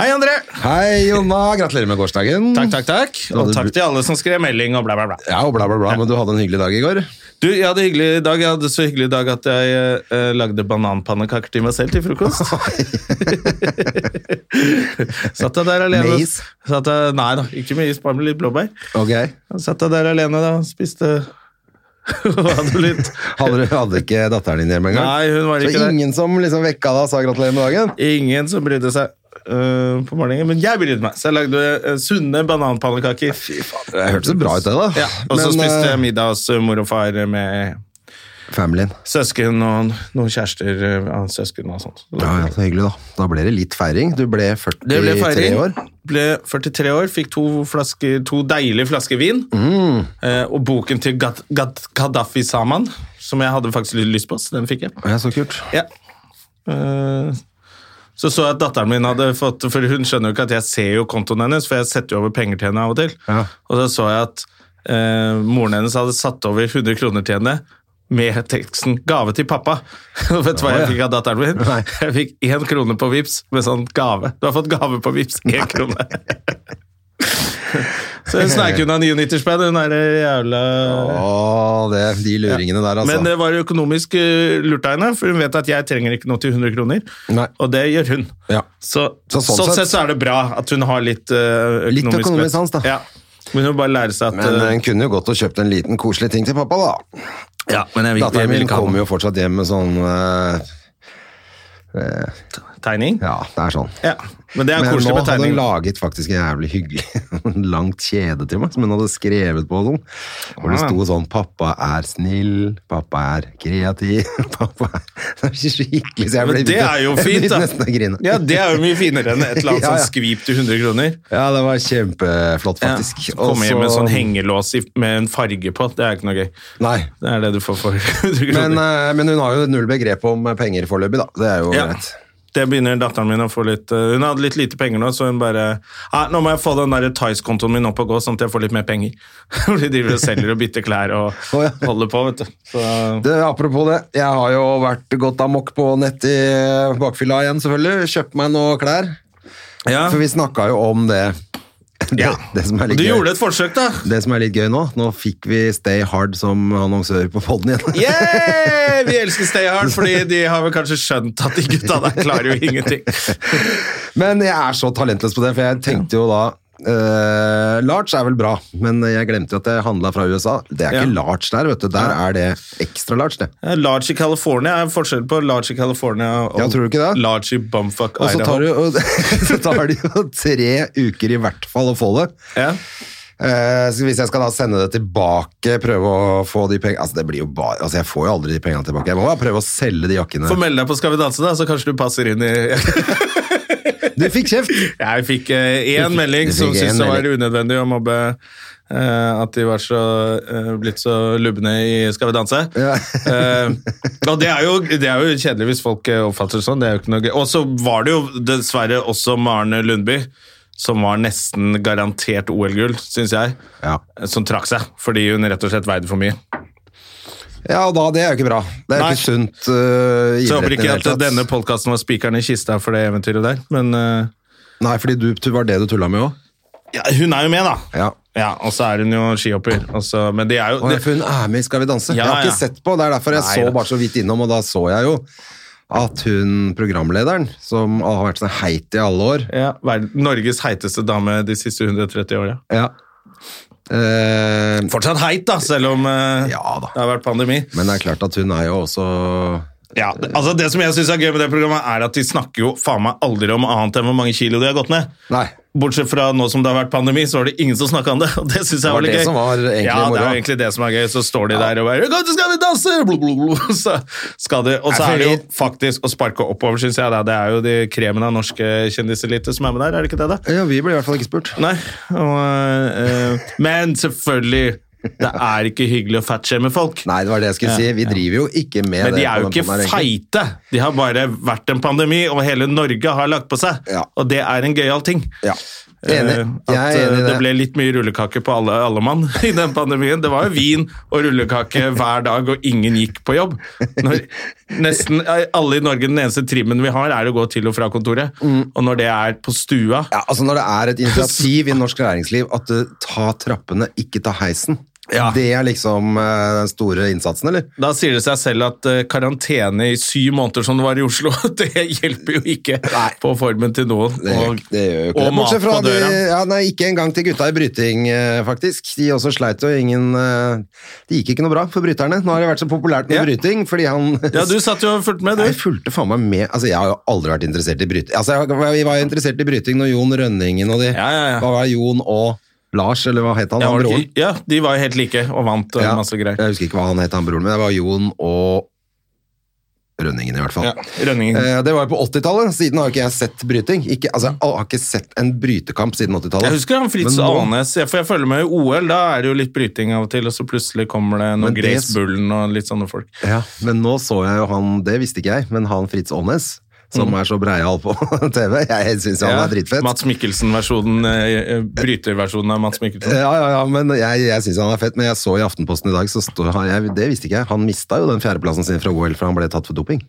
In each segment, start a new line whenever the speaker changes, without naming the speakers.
Hei, André!
Hei, Jonna. Gratulerer med gårsdagen.
Takk, takk, takk. Og
det
takk
blir-
til alle som skrev melding og bla, bla, bla.
Ja, og bla, bla, bla. Men du hadde en hyggelig dag i går.
Du, jeg hadde hyggelig i dag. Jeg hadde så hyggelig i dag at jeg eh, lagde bananpannekaker til meg selv til frokost. satt jeg der alene.
Med is?
Satt jeg, nei da, ikke med is, bare med litt blåbær.
Ok.
Satt jeg der alene da, spiste og hadde litt
Hadde, du- hadde ikke datteren din hjemme engang?
Nei, hun var ikke
Så
der.
ingen som liksom vekka deg og sa gratulerer med dagen?
Ingen som brydde seg eh, på morgenen, men jeg brydde meg. Så jeg lagde eh, sunne bananpannekaker. Fy faen.
Det hørtes bra ut, det, da.
Ja, og så
Men,
spiste
eh,
jeg middag hos eh, mor og far med
Familien.
søsken og noen kjærester eh, av søsken og sånt.
Ja, ja, så hyggelig, da. Da ble det litt feiring. Du ble 43
Det ble feiring.
år.
Ble 43 år, fikk to, flasker, to deilige flasker vin. Eh, og boken til Gad, Gad, Gaddafi Saman, som jeg hadde faktisk litt lyst på, så den fikk jeg.
Ja, så kult.
Ja. Eh, så så jeg at datteren min hadde fått For hun skjønner jo ikke at jeg ser jo kontoen hennes, for jeg setter jo over penger til henne av og til.
Ja.
Og så så jeg at eh, moren hennes hadde satt over 100 kroner til henne. Med teksten 'gave til pappa'. Og Vet du hva jeg fikk av datteren min?
Nei.
Jeg fikk én krone på Vips med sånn gave. Du har fått gave på Vips, én krone. så hun sneik unna 99 spenn, hun derre jævla
Å, det, de luringene der, altså.
men det var økonomisk eh, lurt av henne, for hun vet at jeg trenger ikke noe til 100 kroner.
Nei.
Og det gjør hun.
Mm. Ja.
Så,
Så
sånn,
sånn
sett.
sett-
så er det bra at hun har litt eh, økonomisk
Litt økonomisk
vett.
sans, da.
Ja. Men hun bare lærer seg at
Men
eh,
hun kunne jo godt og kjøpt en liten koselig ting til pappa, da.
ja, men jeg vil, jeg
Datteren
vil
min
ikke ha
kommer
noe
jo fortsatt hjem med sånn eh,
tegning.
Ja, det er sånn.
Ja. Men det er
Men
koselig
nå
med
hadde
tegning.
hun laget faktisk en jævlig hyggelig langt kjede til meg, som hun hadde skrevet på og sånn. Hvor det
Ah.
sto sånn 'Pappa er snill, pappa er kreativ, pappa er Det er så skikkelig, så jeg ble
Men det er jo
jeg
fint,
begynte
da.
nesten å grine.
Ja, det er jo mye finere enn et eller annet
Ja, ja.
sånn skvip til 100 kroner.
Ja, det var kjempeflott, faktisk.
Ja. Komme hjem
Og
med en
så-
sånn hengelås i- med en farge på, det er ikke noe gøy.
Nei.
Det er det du får for 100 kroner.
Men, eh, men hun har jo null begrep om penger foreløpig, da. Det er jo
Ja.
greit.
Det begynner datteren min å få litt eh, Hun hadde litt lite penger nå, så hun bare «Nei, Nå må jeg få den der Tice-kontoen min opp og gå, sånn at jeg får litt mer penger. Hvor de driver og selger og bytter klær og
Å, ja.
holder på, vet du. Så,
Du, apropos det, jeg har jo vært gått amok på nett i eh, bakfylla igjen, selvfølgelig. Kjøpt meg noe klær.
ja.
For vi snakka jo om det. Det,
Ja.
det som er litt
Du
gøy.
gjorde et forsøk, da!
Det som er litt gøy nå, nå fikk vi Stay Hard som annonsør på podden igjen.
Yeah! Vi elsker Stay Hard, fordi de har vel kanskje skjønt at de gutta der klarer jo ingenting.
Men jeg er så talentløs på det, for jeg tenkte jo da eh, Large er vel bra, men jeg glemte jo at jeg handla fra USA. Det er ikke
Ja.
large der, vet du. Der er det ekstra large, det.
Ja, Eh, Large i California er forskjell på large i California og
Ja, tror du ikke det?
large i Bumfuck
Og så
Idaho.
tar, det jo, så tar det jo tre uker i hvert fall å få det.
Ja.
Eh, så hvis jeg skal da sende det tilbake, prøve å få de pengene Altså, det blir jo bare Altså, jeg får jo aldri de pengene tilbake. Jeg må bare prøve å selge de jakkene.
Få melde deg på Skal vi danse, da, så kanskje du passer inn i
Du fikk kjeft!
Jeg fikk eh, én
Du fikk-
melding
du fikk
som
én
syntes det var
melding.
unødvendig å mobbe eh, at de var så, eh, blitt så lubne i Skal vi danse.
Ja.
Eh, og det er, jo, det er jo kjedelig hvis folk eh, oppfatter det sånn. Det er jo ikke noe gøy. Og så var det jo dessverre også Maren Lundby, som var nesten garantert OL-gull, syns jeg,
Ja.
eh, som trakk seg fordi hun rett og slett veide for mye.
Ja, og da, det er jo ikke bra. Det er jo
Nei.
ikke sunt uh, i
Så jeg håper
idretten i
ikke
det
at
hele tatt.
denne podkasten var spikeren i kista for det eventyret der, men eh,
Nei, fordi du, du var det du tulla med òg.
ja, hun er jo med, da.
Ja.
Ja, og så er hun jo skihopper. og så- Men det er jo
Og jeg, for hun er med i Skal vi
Ja,
danse. jeg har
ja.
ikke sett på, det er derfor jeg
Nei, da.
så bare så vidt innom, og da så jeg jo at hun programlederen, som har vært sånn heit i alle år
Ja, verd- Norges heiteste dame de siste 130 åra.
Ja. Eh,
Fortsatt heit, da, selv om eh,
Ja da.
det har vært pandemi.
men det er klart at hun er jo også
Ja, det- altså Det som jeg syns er gøy med det programmet, er at de snakker jo faen meg aldri om annet enn hvor mange kilo de har gått ned.
Nei.
Bortsett fra nå som det har vært pandemi, så var det ingen som snakka om det. og Det synes jeg
Det var
var litt
det
gøy.
som var egentlig
ja, det er
moro.
jo egentlig det som er gøy. Så står de der og bare «Kom, så 'Skal vi danse?' Blu, blu, blu. Så skal de, og så
Nei,
er det jo
fordi-
faktisk å sparke oppover, syns jeg. da. Det er jo de kremen av norske kjendiselite som er med der, er det ikke det, da?
Ja, vi ble i hvert fall ikke spurt.
Nei, og, eh, men selvfølgelig, det er ikke hyggelig å fatshame folk.
Nei, det var det jeg skulle si. Vi driver jo ikke med
Men
det.
de er
på
jo
den
ikke
podden her, egentlig.
feite! De har bare vært en pandemi, og hele Norge har lagt på seg.
Ja.
Og det er en gøyal ting.
Ja. Enig.
Eh, At
Jeg er
eh,
enig i
det
det.
ble litt mye rullekake på alle, alle mann i den pandemien. Det var jo vin og rullekake hver dag, og ingen gikk på jobb. Når nesten eh, alle i Norge, den eneste trimmen vi har, er å gå til og fra kontoret.
Mm.
Og når det er på stua
Ja, altså Når det er et initiativ i norsk næringsliv at uh, ta trappene, ikke ta heisen
Ja.
Det er liksom uh, den store innsatsen, eller?
Da sier det seg selv at eh, karantene i syv måneder som det var i Oslo, det hjelper jo ikke
Nei.
på formen til noen.
Det, gjør- det gjør jo ikke
og
det.
mat
Bortsett
på
fra de,
døra.
ja, nei, ikke engang til gutta i bryting, eh, faktisk. De også sleit jo ingen eh, Det gikk ikke noe bra for bryterne. Nå har det vært så populært med
Ja.
bryting fordi han
Ja, du satt jo og fulgte med,
Jeg
du.
fulgte faen meg med Altså, jeg har jo aldri vært interessert i bryting. Altså, jeg var- jeg var jo interessert i bryting når Jon Rønningen og de
Ja, ja, ja.
Hva var det, Jon og Lars, eller hva het han?
Ja,
han
var det
broren?
ikke- ja, de var jo helt like og vant og masse greier.
Jeg husker ikke hva han het, han broren min. Det var Jon og Rønningen, i hvert fall.
Ja, Rønningen.
Eh, Det var jo på 80-tallet. Siden har ikke jeg sett bryting. Ikke, altså, jeg har ikke sett en brytekamp siden 80-tallet.
Jeg husker han Fritz
Men nå-
Aanes, ja, for jeg følger med i OL. Da er det jo litt bryting av og til, og så plutselig kommer det noen
Men det-
Grace Bullen og litt sånne folk.
Ja, men nå så jeg jo han, det visste ikke jeg, men han Fritz Aanes, som er så breial på TV, jeg syns han
Mm. Ja,
er dritfett.
Mats Mikkelsen-versjonen, eh, eh, bryterversjonen av Mats Mikkelsen.
Eh, Ja, ja, ja, men jeg, jeg syns han er fett. Men jeg så i Aftenposten i dag, så står han jeg, Det visste ikke jeg. Han mista jo den fjerdeplassen sin fra OL, for han ble tatt for doping.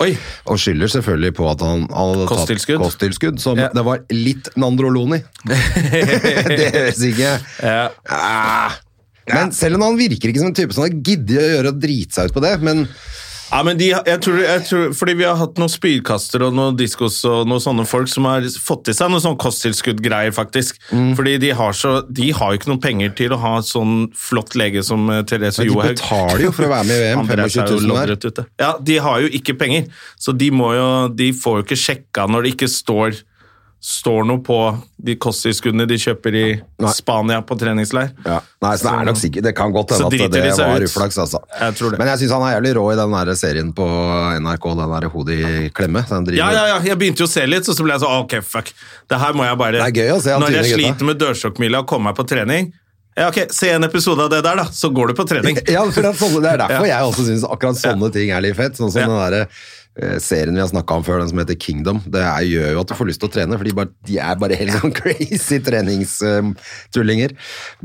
Oi!
Og skylder selvfølgelig på at han hadde
Kosttilskudd.
tatt kosttilskudd. Som
Ja.
det var litt Nandroloni. det høres ikke
Ja.
Ah. Men selv om han virker ikke som en type som har giddet å gjøre og drite seg ut på det, men
Ja, men de, jeg tror, jeg tror, fordi vi har hatt noen spydkaster og noen diskos og noen sånne folk som har fått i seg noen sånn kosttilskuddgreier, faktisk.
Mm.
Fordi de har, så, de har jo ikke noen penger til å ha sånn flott lege som eh, Therese
de
Johaug.
betaler jo for å være med i VM.
Andre er
25
jo
000 der.
loddrett ute. Ja, de har jo ikke penger, så de, må jo, de får jo ikke sjekka når det ikke står, står noe på de kosttilskuddene de kjøper i
Nei.
Spania på treningsleir.
Ja. Nei, så det er nok sikkert Det kan godt
Så
hende at
driter
det
de seg
var
ut.
uflaks, altså.
Jeg tror det.
Men jeg syns han er jævlig rå i den der serien på NRK, den der Hodet i klemme. Den driver
Ja, ja, ja, jeg begynte jo å se litt, og så ble jeg sånn, ok, fuck. Det her må jeg bare...
Det er gøy å se han
Når jeg
tynne gutta.
sliter med dørstokkmila og kommer meg på trening, ja, ok, se en episode av det der da, så går du på trening.
Ja, for det, er sånne, det er derfor
Ja.
jeg også syns akkurat sånne ting er litt fett. Sånn som
Ja.
den der, eh, serien vi har snakka om før, den som heter Kingdom. Det er, gjør jo at du får lyst til å trene, for de, bare, de er bare helt sånn crazy treningstullinger.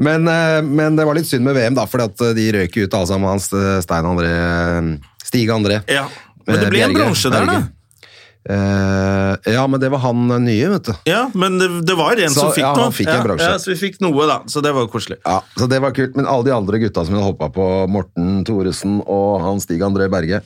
Men, eh, men det var litt synd med VM, da, for de røyk jo ut alle sammen. Hans eh, Stein André eh, Stig André.
Ja, men
Eh,
det ble en
Bjerge,
bronse der da.
Berge. Eh, ja, men det var han eh, nye, vet du.
Ja, men det, det var en
Så,
som fikk
ja,
noe.
han fikk en bronse.
Ja, så vi fikk noe da, så det var jo koselig.
Ja, så det var kult, men alle de andre gutta som hun hoppa på, Morten Thoresen og han Stig André Berge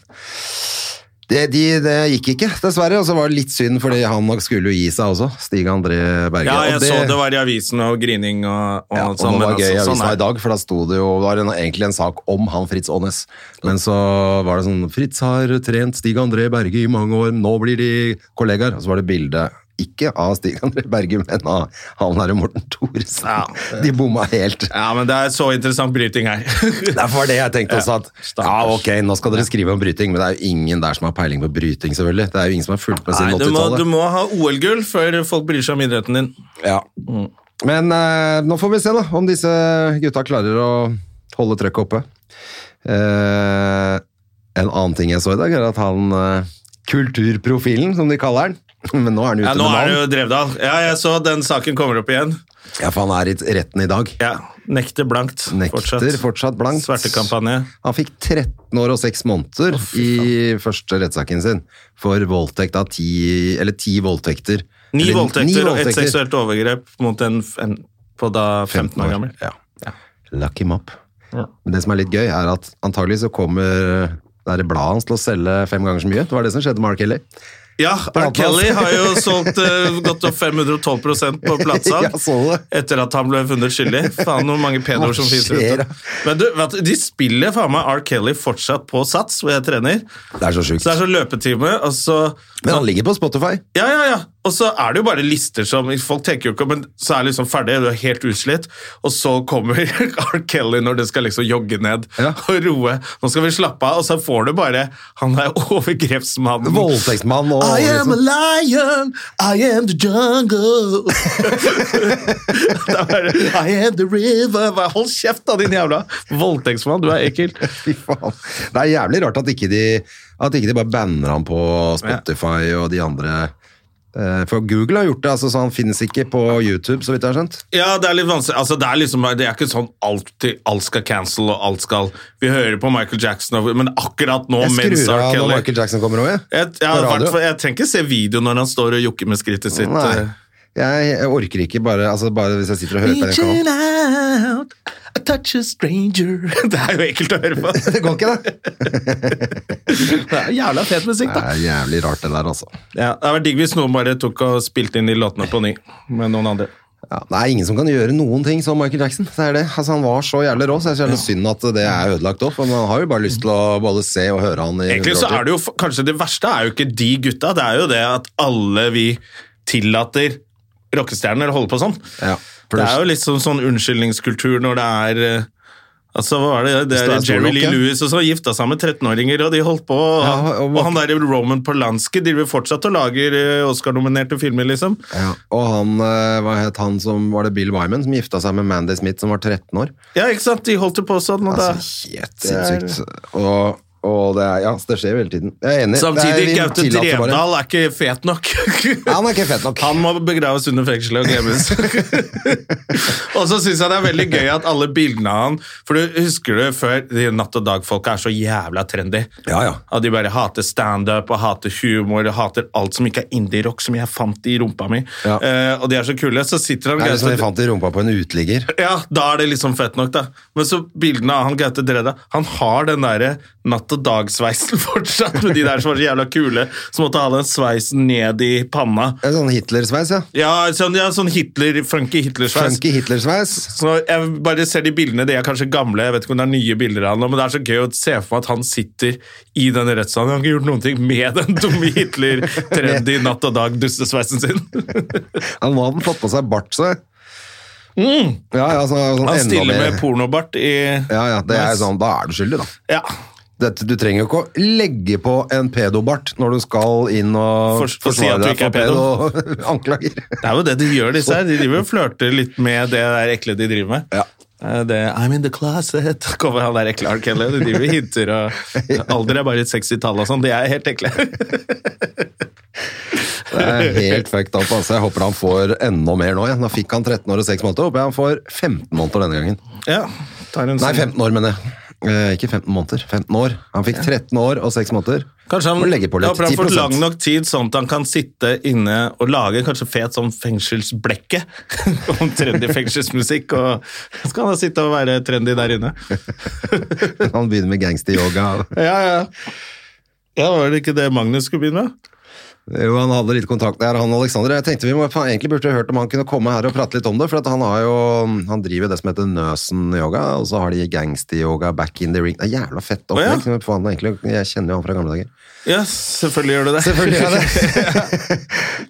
det, de, det gikk ikke, dessverre. Og så var det litt synd, fordi han nok skulle jo gi seg også. Stig André Berge.
Ja, jeg
og det,
så det var i avisen og grining og, og
ja, og
alt sammen.
det var gøy i
altså, sånn
avisa
er
i dag, for da sto det jo Det var en, egentlig en sak om han Fritz Aanes, men så var det sånn Fritz har trent Stig André Berge i mange år, nå blir de kollegaer. Og så var det bilde ikke av Stig André Berge, men av han derre Morten Thoresen.
Ja.
De bomma helt.
det. Ja, men det er så interessant bryting her.
Derfor var det jeg tenkte også at ja,
stakkars.
ok, nå skal dere skrive om bryting, men det er jo ingen der som har peiling på bryting, selvfølgelig. Det er jo ingen som har fulgt med
Nei,
siden
du må, du
80-tallet.
må ha OL-gull før folk bryr seg om idretten din.
Ja.
Mm.
Men eh, nå får vi se da, om disse gutta klarer å holde trøkket oppe. Eh, en annen ting jeg så i dag, er at han eh, kulturprofilen, som de kaller han, men nå er han ute
Ja, nå
med
er det jo
navn.
Drevdal. Ja, jeg så den saken kommer opp igjen.
Ja, for han er i retten i dag.
Ja, nekter blankt.
Nekter fortsatt blankt.
Svertekampanje.
Han fikk 13 år og 6 måneder i første rettssaken sin for voldtekt av 10, eller 10 voldtekter.
Ni
Eller
voldtekter,
ni
og ett
voldtekter.
seksuelt overgrep mot en, en på da 15 år gammel.
Ja. Lock him up. Men det som er litt gøy, er at antagelig så kommer det der bladet hans til å selge fem ganger så mye. Det var det som skjedde med R. Kelly.
Ja, R.
Plata.
Kelly har jo solgt eh, gått opp 512 på
Ja, så
platesalg
det.
etter at han ble funnet skyldig. Faen, hvor mange pedoer som
Hva
finnes
skjer,
rundt
da?
om. Men du, vet, du, de spiller faen meg R. Kelly fortsatt på Sats, hvor jeg trener.
Det er så sjukt.
Så det er sånn løpetime, og så
Men han ligger på Spotify.
Ja, ja, ja. Og så er det jo bare lister som Folk tenker jo ikke men så er det liksom ferdig, du er helt utslitt, og så kommer R. Kelly når du skal liksom jogge ned
Ja.
og roe. Nå skal vi slappe av, og så får du bare Han er overgrepsmannen.
Voldtektsmann og
I am a
liksom.
lion, I am the jungle. det er bare, I am the river. Bare Hold kjeft, da, din jævla voldtektsmann. Du er ekkel.
Fy faen. Det er jævlig rart at ikke de, at ikke de bare banner han på Spotify og de andre Eh, For Google har gjort det, altså, så han finnes ikke på YouTube, så vidt jeg har skjønt.
Ja, det er litt vanskelig. Altså, det, er liksom, det er ikke sånn alltid alt skal cancel og alt skal Vi hører på Michael Jackson, og- men akkurat nå,
Jeg
mens R.
skrur av når
Kelly
Michael Jackson kommer over.
jeg, jeg,
på radio.
jeg, jeg trenger ikke se video når han står og jokker med skrittet sitt. eh.
Nei, jeg, jeg orker ikke bare, altså, bare hvis jeg sitter og hører på den kanalen.
out, I touch a stranger Det er jo ekkelt å høre på.
Det går ikke, det.
Det er jævla fet musikk,
Det
da.
er jævlig rart, det der, altså.
Ja, det hadde vært digg hvis noen bare tok og spilte inn de låtene på ny med noen andre.
Ja, det er ingen som kan gjøre noen ting som Michael Jackson. Det er det. Altså, han var så jævlig rå, så det er så jævlig synd at det er ødelagt òg. For man har jo bare lyst til å både se og høre han i
Egentlig så er det jo f- kanskje det verste er jo ikke de gutta, det er jo det at alle vi tillater rockestjerner å holde på sånn.
Ja, for
det
det-
er jo litt sånn, sånn unnskyldningskultur når det er eh, Altså, hva var det? Det
Hvis
er
det er stor
Jerry
rock,
Lee
ja.
Lewis og så gifta seg med 13-åringer, og de holdt på. Og,
Ja, og-
og, han der Roman Polanski driver fortsatt og lager eh, Oscar-nominerte filmer, liksom.
ja. Og han, eh, hva het han som var det Bill Wyman, som gifta seg med Mandy Smith, som var 13 år.
Ja, ikke sant? De holdt det på sånn. Og da-
Altså, helt sinnssykt. Og, og det er Ja, så det skjer jo hele tiden. Jeg er enig. Det
Samtidig,
er- vi
Gaute
tillater bare-
Drevdal er ikke fet nok.
Ja, Han er ikke fet nok.
Han må begraves under fengselet og kremmes. og så syns jeg det er veldig gøy at alle bildene av han For du husker du før de Natt og Dag-folka er så jævla trendy.
Ja, ja.
At de bare hater standup og hater humor og hater alt som ikke er indie-rock, som jeg fant i rumpa mi.
Ja.
Eh, og de er så kule. Så sitter han
Det er som
Gaute-
de fant i rumpa på en uteligger.
ja, da er det liksom fett nok, da. Men så bildene av han Gaute Dreda Han har den derre natt og dag-sveisen fortsatt, med de der som var så jævla kule, som måtte ha den sveisen ned i panna.
En sånn Hitler-sveis, ja.
Ja, sånn, ja, sånn Hitler, funky Hitler-sveis.
Funky Hitler-sveis.
Så jeg bare ser de bildene, de er kanskje gamle, jeg vet ikke om det er nye bilder av han, nå, men det er så gøy å se for meg at han sitter i den rettssalen. Han har ikke gjort noen ting med den dumme Hitler-trendy natt og dag-dustesveisen sin.
Han nå hadde han fått på seg bart, så. Ja, ja, så, sånn
Mm. Han
enda
stiller
mer-
med pornobart i
Ja, ja, det er sånn, da er du skyldig, da.
Ja.
Dette, du trenger jo ikke å legge på en pedobart når du skal inn og
For- for å si at
forsvare
du
deg
ikke er
for pedo-anklager.
Det er jo det de gjør, disse her. De driver og flørter litt med det der ekle de driver med.
Ja.
Eh, Det, I'm in the closet. Da kommer han der ekle R. Kelly. De driver og hinter og Alder er bare et sexy tall og sånn. De er helt ekle.
Det er helt fucked up, altså. Jeg håper han får enda mer nå. Ja. Da fikk han 13 år og 6 måneder. Håper jeg han får 15 måneder denne gangen.
Ja, tar en
Nei,
sånn-
15 år, mener jeg. Eh, ikke 15 måneder. 15 år. Han fikk 13 år og 6 måneder.
Kanskje han,
Må legge på litt.
Ja, for han har fått
10%.
lang nok tid sånn at han kan sitte inne og lage kanskje fet sånn fengselsblekke om trendy fengselsmusikk, og så kan han sitte og være trendy der inne.
Han begynner med gangsteryoga.
Ja, ja. Ja, Var det ikke det Magnus skulle begynne med?
Jo, han hadde litt kontakt der, han Alexander. Jeg tenkte vi må, faen, egentlig burde hørt om han kunne komme her og prate litt om det, for at han, har jo, han driver det som heter Nøsen-yoga, og så har de gangster-yoga, back in the ring. Det er jævla fett
Å, ja.
opplegg. men faen, egentlig, jeg kjenner jo han fra gamle dager.
Ja, selvfølgelig gjør du det.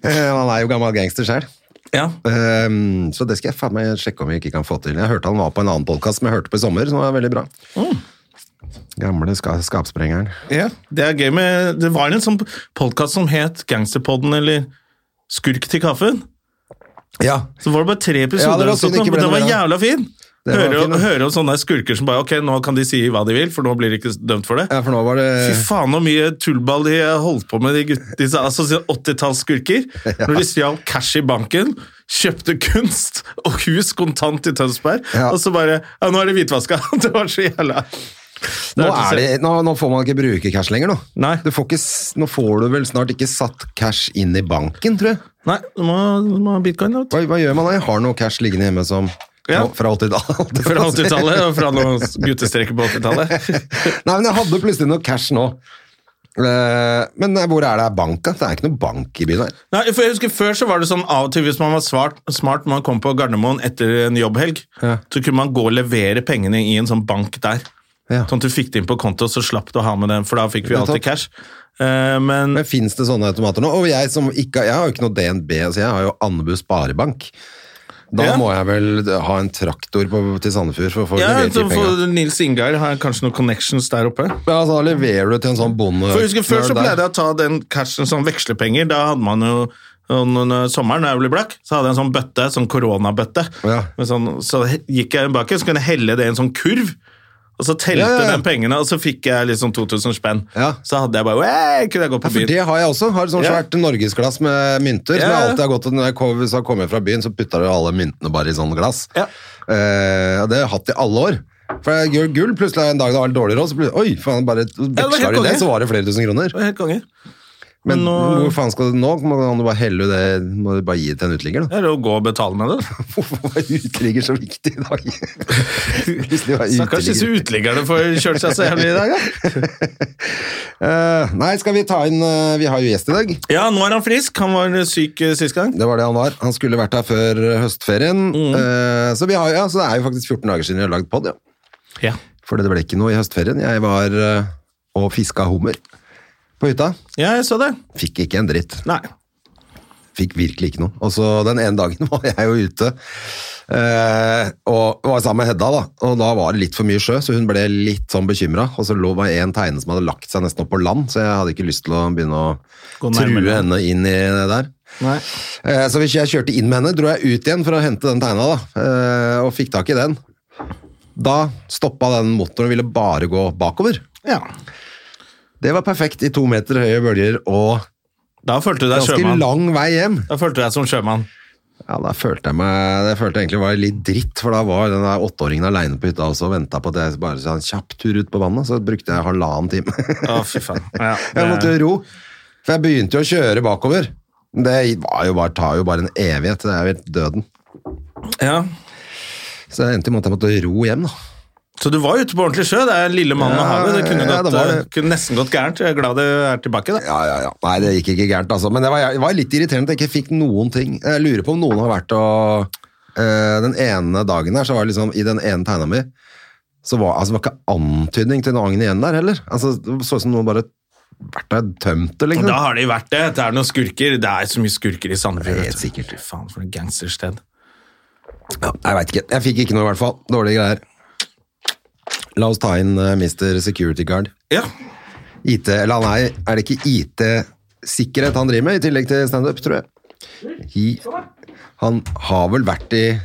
Eh, han er jo gammel gangster selv.
Ja.
Ehm, så det skal jeg faen meg sjekke om vi ikke kan få til. Jeg hørte han var på en annen podcast som jeg hørte på i sommer, som var veldig bra.
Mm.
Gamle ska skapsprengeren.
Ja, det er gøy med Det var en sånn podkast som het Gangsterpodden eller Skurk til kaffen.
Ja,
Så var det bare tre
Ja,
episoder,
det var
og sånt,
synd ikke
men
ble
den
noe
var
mer av
jævla fin!
Det var
Høre,
fin, da.
høre om sånne skurker som bare Ok, nå kan de si hva de vil, for nå blir de ikke dømt for det.
ja eh. for nå var det...
Fy faen så mye tullball de holdt på med, de gutt- disse altså, 80-tallsskurker. Når de stjal cash i banken, kjøpte kunst og hus kontant i Tønsberg,
Ja.
og så bare Ja, nå er det hvitvaska! Det var så jævla
Nå,
hørtes
er det, nå, nå får man ikke bruke cash lenger, nå.
Nei.
Du får ikke, s- nå får du vel snart ikke satt cash inn i banken, tror jeg.
Nei, du må, du må ha bitcoin. Da.
Hva, hva gjør man da? Jeg har noe cash liggende hjemme som
Ja.
nå, fra 80-tallet.
Fra 80-tallet og fra noen guttestreker på 80-tallet.
Nei, men jeg hadde plutselig noe cash nå. Eh, Men eh, hvor er det bank, da? Det er ikke noe bank i byen her.
Nei, for jeg husker Før så var det sånn av og til hvis man var smart, smart man kom på Gardermoen etter en jobbhelg, så kunne man gå og levere pengene i en sånn bank der.
Ja.
Sånn at du fikk det inn på konto, så slapp du å ha med den, for da fikk vi alltid
Nettopp.
cash. Eh, men
Men Fins det sånne automater nå? Og jeg, som ikke, har- jeg har jo ikke noe DNB, så jeg har jo Andebu sparebank. Da
Ja.
må jeg vel ha en traktor på, til Sandefjord for å få
ja,
levert de
så
penga.
for Nils Ingar har kanskje noen connections der oppe.
Ja, så da leverer du til en sånn bonde...
For jeg husker Før så
der.
pleide jeg å ta den cashen som vekslepenger. Da hadde man jo når sommeren, da jeg ble blakk, så hadde jeg en sånn bøtte, sånn koronabøtte.
Ja.
Med Sånn, så he- gikk jeg baki, så kunne jeg helle det i en sånn kurv. Og så telte
Ja, ja, ja.
den pengene, og så fikk jeg liksom 2000 spenn.
Ja.
Så hadde jeg bare «Wey!» Kunne jeg gå
Ja,
på
for
byen.
det har jeg også. Har et sånt
Ja.
svært norgesglass med mynter. Som
Ja,
jeg
ja.
alltid har gått til når jeg kom, hvis jeg kommer fra byen, så putter jeg alle myntene bare i sånn glass.
Ja.
Eh, og det har jeg hatt i alle år. For jeg gjør gull, plutselig en dag det var litt dårlig råd, så plutselig, oi, faen, bare
var
veksla
helt
du det,
konge.
så var det flere tusen kroner.
Det var helt konge.
Men
Men nå-
hvor faen skal du nå? Må kan du bare helle det, må du bare gi det til en uteligger, da?
Det er jo å gå og betale med det.
Hvorfor var uteligger så viktig i dag? Plutselig var
Stakkars disse
uteligger.
uteliggerne får kjørt seg så jævlig i dag. Ja.
Eh, nei, skal vi ta inn eh, Vi har jo gjest i dag.
ja, nå er han frisk. Han var syk eh, sist gang.
Det var det han var. Han skulle vært her før eh, høstferien.
Mm.
Eh, så, vi har, ja, så det er jo faktisk 14 dager siden vi har lagd pod, ja.
Ja.
For det ble ikke noe i høstferien. Jeg var eh, og fiska hummer på hytta.
ja, jeg så det.
Fikk ikke en dritt.
Nei.
Fikk virkelig ikke noe. Og så den ene dagen var jeg jo ute eh, og var sammen med Hedda, da. Og da var det litt for mye sjø, så hun ble litt sånn bekymra. Og så lå det en teine som hadde lagt seg nesten opp på land, så jeg hadde ikke lyst til å begynne å
Gå
true
nærmere.
henne inn i det der.
Nei.
Eh, Så hvis jeg kjørte inn med henne, dro jeg ut igjen for å hente den tegna, da, eh, og fikk tak i den. Da stoppa den motoren og ville bare gå bakover.
Ja.
Det var perfekt i to meter høye bølger og
Da følte du deg
ganske
sjømann.
lang vei hjem.
Da følte du deg som sjømann.
Ja, da følte jeg meg Det følte jeg egentlig var litt dritt, for da var den der åtteåringen aleine på hytta også og venta på at jeg bare skulle ha en kjapp tur ut på vannet, så brukte jeg halvannen time.
Å, fy faen. Ja,
Jeg måtte
det-
jo ro, for jeg begynte jo å kjøre bakover. Det var jo bare, tar jo bare en evighet, det er jo helt døden.
ja.
Så jeg endte med at jeg måtte ro hjem, da.
Så du var ute på ordentlig sjø? Det er lille mannen og
Ja,
havet. Det kunne,
ja,
gått,
det var det.
eh, kunne nesten gått gærent. Jeg er glad det er tilbake. Da.
Ja, ja, ja. Nei, det gikk ikke gærent, altså. Men det var, det var litt irriterende at jeg ikke fikk noen ting. Jeg lurer på om noen har vært og eh, Den ene dagen her, så var det liksom I den ene tegna mi, så var altså, det var ikke antydning til noe agn igjen der heller. Altså, det så ut som noen bare vært der og tømt det,
Og
liksom.
da har de vært det. Det er noen skurker. Det er så mye skurker i Sandefjord.
Helt
vet du.
sikkert.
Fy Faen, for et gangstersted.
Ja, jeg veit ikke. Jeg fikk ikke noe, i hvert fall. Dårlige greier. La oss ta inn eh, Mr. Security Guard.
Ja.
IT, eller han er, er det ikke IT-sikkerhet han driver med, i tillegg til standup, tror jeg. He, han har vel vært i eh,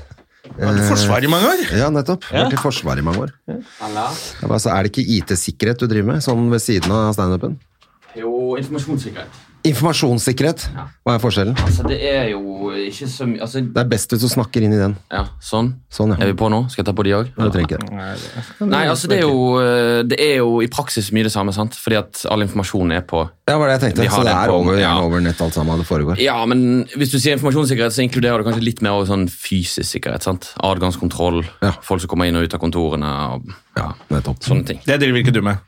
Vært i Forsvaret i mange år.
Ja, nettopp. Vært i Forsvaret i mange år. Jeg bare sa, er det ikke IT-sikkerhet du driver med, sånn ved siden av standupen?
Jo, informasjonssikkerhet.
Informasjonssikkerhet, hva er forskjellen?
Altså, det er jo ikke så mye altså,
Det er best hvis du snakker inn i den.
Ja, sånn.
Sånn, ja.
Er vi på nå? Skal jeg ta på de òg?
Du trenger ikke det.
Nei, altså, det er, jo, eh, det er jo i praksis mye det samme, sant? Fordi at all informasjon er på
Ja, var det jeg tenkte.
Vi har
Så det
det
er
på-
over,
ja.
gjerne over nett alt sammen, det foregår.
Ja, men hvis du sier informasjonssikkerhet, så inkluderer du kanskje litt mer også sånn fysisk sikkerhet. sant? Adgangskontroll,
Ja.
folk som kommer inn og ut av kontorene og
Ja, nettopp.
sånne ting.
Det driver ikke du med.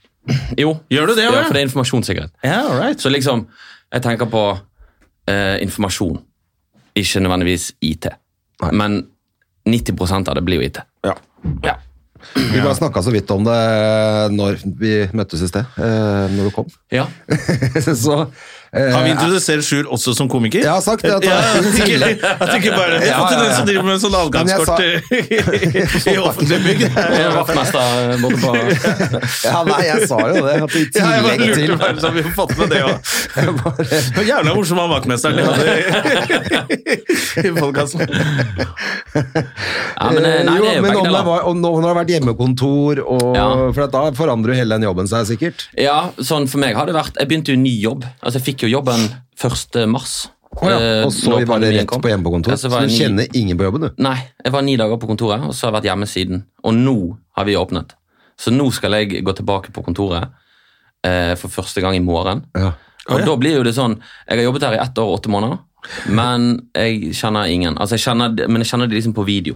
Jo,
Gjør du det,
ja,
eller?
for det er informasjonssikkerhet.
Ja, all right.
Så liksom, jeg tenker på eh, informasjon, ikke nødvendigvis IT. Men 90 av det blir jo IT.
Ja.
Ja.
Vi bare snakka så vidt om det eh, når vi møttes i sted, eh, når du kom.
ja.
så eh,
Kan vi introdusere Sjur også som komiker?
Jeg har sagt det. At,
Ja, at det ikke, at det ikke bare Det er
Ja, ja, ja.
den som driver med sånn adgangskort i- i offentlig bygg.
Jeg er Vaktmester eh, borte på
ja, nei, jeg sa jo det. At i
Ja, jeg bare
tillegg til
lurte på om vi har fått med det òg. Jævla morsom han vaktmesteren de hadde i- i podkasten.
ja, men, eh, Nei,
jo,
det er jo
men
begge
om det,
deler.
var, om, når det har vært hjemmekontor, og,
Ja.
for at da forandrer jo hele den jobben seg sikkert.
Ja, sånn for meg har det vært Jeg begynte jo ny jobb. Altså, jeg fikk jo jobben 1. mars. eh,
og så
når
vi bare
pandemien
rett
kom.
på hjemmekontor.
Ja,
Så,
var
du
jeg ni-
kjenner ingen på jobben, du.
Nei, jeg var ni dager på kontoret, og så har jeg vært hjemme siden. Og nå har vi åpnet. Så nå skal jeg gå tilbake på kontoret eh, for første gang i morgen.
Ja.
Og da blir jo det sånn Jeg har jobbet her i ett år og åtte måneder, men jeg kjenner ingen. Altså, jeg kjenner, de- men jeg kjenner de liksom på video.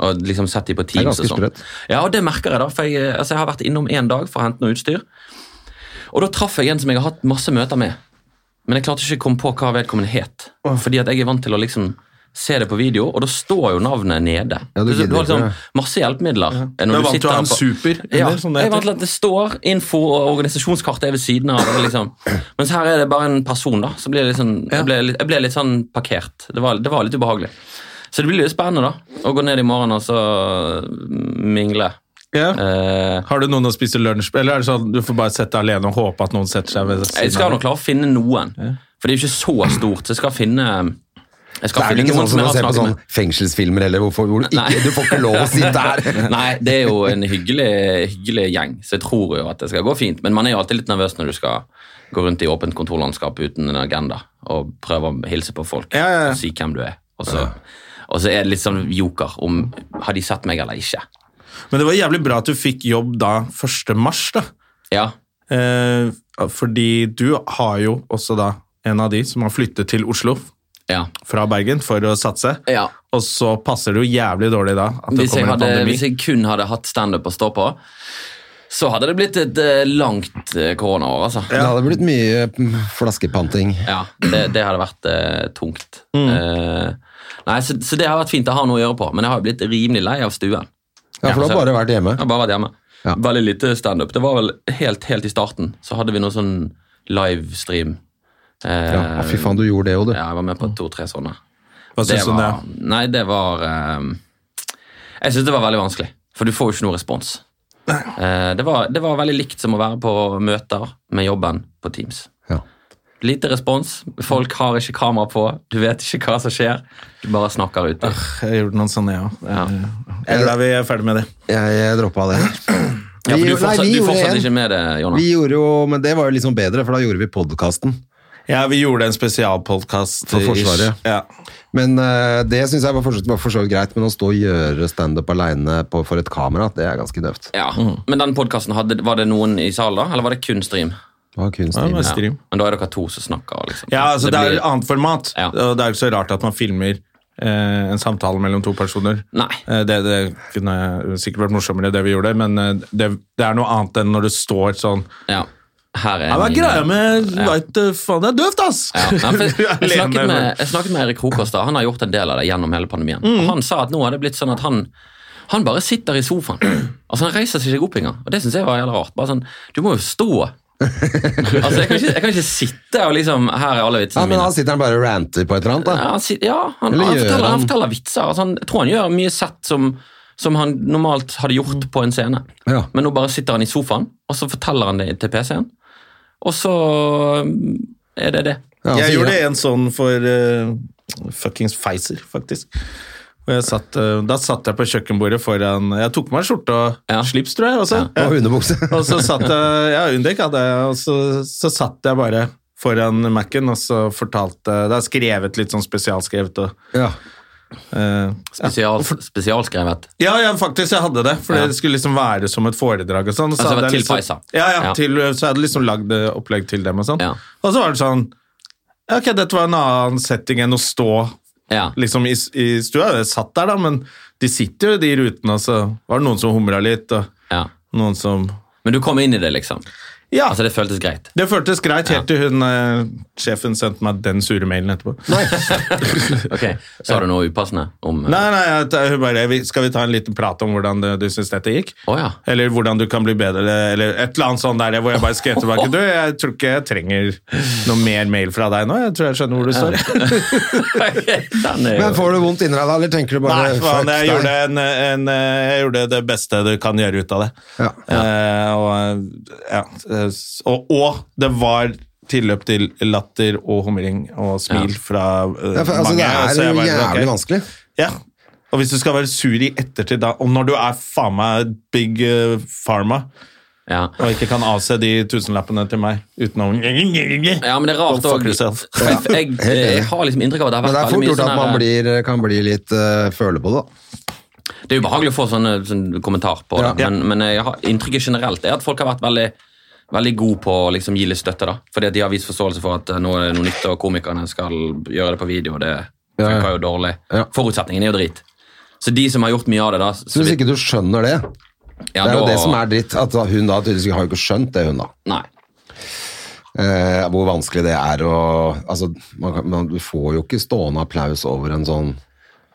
Og liksom sett de på Teams
ganske
og sånn.
sprøtt.
Ja, og det merker jeg, da. For jeg, altså, jeg har vært innom én dag for å hente noe utstyr. Og da traff jeg en som jeg har hatt masse møter med. Men jeg klarte ikke å komme på hva vedkommende het. Fordi at jeg er vant til å liksom se det på video, og da står jo navnet nede.
Ja, du
Så
gidder
har liksom
ikke det.
masse hjelpemidler. eh,
Du
Når
er vant til å ha en
sitter på-
super, eller
Ja,
sånn det
jeg
heter.
er vant til at det står info og organisasjonskartet er ved siden av. og Liksom. Mens her er det bare en person, da. Så blir det litt sånn, jeg, ble litt, jeg ble litt sånn parkert. Det var, det var litt ubehagelig. Så det blir litt spennende, da. Å gå ned i morgen og så mm, mingle.
Ja.
Eh,
Har du noen å spise lunsj med, eller er det sånn du får bare sette deg alene og håpe at noen setter seg ved
Jeg
siden
skal
av?
nok klare å finne noen. For det er jo ikke så stort. Så jeg skal finne jeg
Det
skal
er vel
finne
ikke
noen
sånn som
som jeg
å
har
se på
snakket
sånn
med.
fengselsfilmer heller, hvorfor, hvor du, ikke,
Nei.
du får ikke lov å sitte her.
Nei, det er jo en hyggelig, hyggelig gjeng, så jeg tror jo at det skal gå fint. Men man er jo alltid litt nervøs når du skal gå rundt i åpent kontorlandskap uten en agenda og prøve å hilse på folk
Ja, ja, ja.
og si hvem du er. Og så, og så er det litt sånn joker om har de sett meg eller ikke.
Men det var jævlig bra at du fikk jobb da 1. mars, da.
Ja,
Eh, fordi du har jo også da en av de som har flyttet til Oslo
ja.
fra Bergen for å satse,
Ja.
og så passer det jo jævlig dårlig da at det
Hvis jeg,
kommer en
hadde,
pandemi.
hvis jeg kun hadde hatt standup å stå på, så hadde det blitt et eh, langt eh, koronaår, altså.
Det hadde blitt mye mm, flaskepanting.
Ja, det, det hadde vært eh, tungt.
Mm.
Eh, nei, så, så det har vært fint å ha noe å gjøre på, men jeg har jo blitt rimelig lei av stuen.
Ja, for du
altså-
har bare vært hjemme.
Jeg har bare vært hjemme.
Ja.
Veldig lite standup. Det var vel helt, helt i starten, så hadde vi noe sånn livestream. Eh,
Ja, å, fy faen, du gjorde det jo, du.
ja, jeg var med på to-tre sånne.
Hva synes du om det?
var, nei, det var eh, Jeg syns det var veldig vanskelig, for du får jo ikke noe respons. Eh, det, var, det var veldig likt som å være på møter med jobben på Teams.
Ja.
Lite respons. Folk har ikke kamera på. Du vet ikke hva som skjer. Du bare snakker ut.
Jeg gjorde noen sånne, ja.
Ja.
Eller er vi ferdig med det?
Jeg, jeg droppa det.
Ja, for
Vi gjorde- nei,
du fortsatt,
vi
du
gjorde
fortsatt
en.
ikke med det, Jonas.
Vi gjorde jo, men det var jo liksom bedre, for da gjorde vi podkasten.
Ja, vi gjorde en spesialpodkast.
For Forsvaret.
Ja.
Men eh, det syns jeg var for, så- var for så vidt greit, men å stå og gjøre standup aleine for et kamera, det er ganske døvt.
Ja.
Mhm.
Men den podkasten, var det noen i salen da, eller var det kun stream?
Det var kun
Ja, det
streaming.
var stream.
Men da er dere to som snakker. liksom.
Ja, altså det, er
blir-
et annet format,
Ja.
og det er jo ikke så rart at man filmer eh, en samtale mellom to personer.
Nei.
Eh, det, det kunne sikkert vært morsommere det vi gjorde, men eh, det, det er noe annet enn når du står sånn
Ja. Her er
Ja, hva er
min- eh,
greia med
Ja.
Veit du faen, det er døvt, ass!
Ja. Nei, for
Du er
jeg, jeg,
alene,
snakket med,
men-
jeg snakket med Erik Hokastad. Han har gjort en del av det gjennom hele pandemien.
Mm.
Og han sa at nå har det blitt sånn at han, han bare sitter i sofaen. Altså Han reiser seg ikke opp engang. Og det syns jeg var jævlig rart. Bare sånn, Du må jo stå. altså Jeg kan ikke, jeg kan ikke sitte og liksom Her er alle vitsene
Ja, men
mine.
han sitter han bare og ranter på et eller annet,
Ja,
da.
han, sit- ja, han,
Eller
han,
gjør
forteller,
han?
han forteller vitser. Altså, han, jeg tror han gjør mye sett som, som han normalt hadde gjort på en scene.
Ja.
Men nå bare sitter han i sofaen, og så forteller han det til PC-en. Og så mm, er det det.
Ja, han
Jeg
sier-
gjorde en sånn for eh, fuckings Pfizer, faktisk. Og jeg satt, eh, da satt jeg på kjøkkenbordet foran Jeg tok på meg skjorte og
Ja.
slips, tror jeg. Også. Ja.
Og underbukse.
Og så satt jeg Ja, Undek hadde jeg, og så, så satt jeg bare foran Mac-en, og så fortalte Det er skrevet litt sånn spesialskrevet og
Ja.
eh,
Spesial, Spesialskrevet.
ja, ja, faktisk, jeg hadde det. For
Ja.
det skulle liksom være som et foredrag og sånn. og
Altså, det var
hadde jeg
til
liksom,
Pfizer.
ja, ja,
Ja.
Til, så jeg hadde liksom lagd eh, opplegg til dem og sånn.
Ja.
Og så var det sånn ja, Ok, dette var en annen setting enn å stå
Ja.
liksom i, i stua. Jeg satt der, da, men de sitter jo i de rutene, og så var det noen som humra litt, og
ja.
noen som
Men du kom inn i det, liksom.
Ja!
Altså, det føltes greit.
Det føltes greit helt til hun eh, sjefen sendte meg den sure mailen etterpå. Nei,
Ok, Sa du noe upassende om eh,
nei, at, eh, hun bare "Vi- Skal vi ta en liten prat om hvordan det, du syns dette gikk?
Å ja.
Eller hvordan du kan bli bedre, eller et eller annet sånt der hvor jeg bare skrev tilbake Du, jeg tror ikke jeg trenger noe mer mail fra deg nå. Jeg tror jeg skjønner hvor du står.
Den er
Men
jo
får du vondt inni deg da, eller tenker du bare
Nei, faen, jeg
fuck
gjorde,
deg?
en, en, eh, jeg gjorde det beste du kan gjøre ut av det.
Ja.
Eh, og, eh, ja. eh, s- og, og det var tilløp til latter og humring og smil
Ja.
fra eh,
Ja, for, altså,
mange.
det
så
er
jeg
jo
bare,
jævlig
ok.
vanskelig.
Ja. Og hvis du skal være sur i ettertid, da, og når du er faen meg big eh, pharma
ja.
og ikke kan avse de tusenlappene til meg uten å
ja,
Ja,
men det er rart
Go fuck
òg.
yourself.
Jeg, jeg, jeg har liksom inntrykk av at det har
Men det er
vært
fort
veldig mye
gjort at
sånn
man
her-
blir, kan bli litt eh, føle på det, da.
Det er ubehagelig å få sånne, sånn kommentar på det,
Ja.
men, men jeg har, inntrykket generelt er at folk har vært veldig, veldig gode på å liksom gi litt støtte. da. Fordi at de har vist forståelse for at eh, nå er det noe nytt, og komikerne skal gjøre det på video. og Det
Ja, ja.
funker jo dårlig.
Ja.
Forutsetningen er jo drit. Så de som har gjort mye av det, da
Så hvis ikke du skjønner det,
ja,
det er jo
da-
det som er dritt. At da hun da tydeligvis har jo ikke skjønt det, hun da.
Nei.
Eh, hvor vanskelig det er å altså, man, kan- man, Du får jo ikke stående applaus over en sånn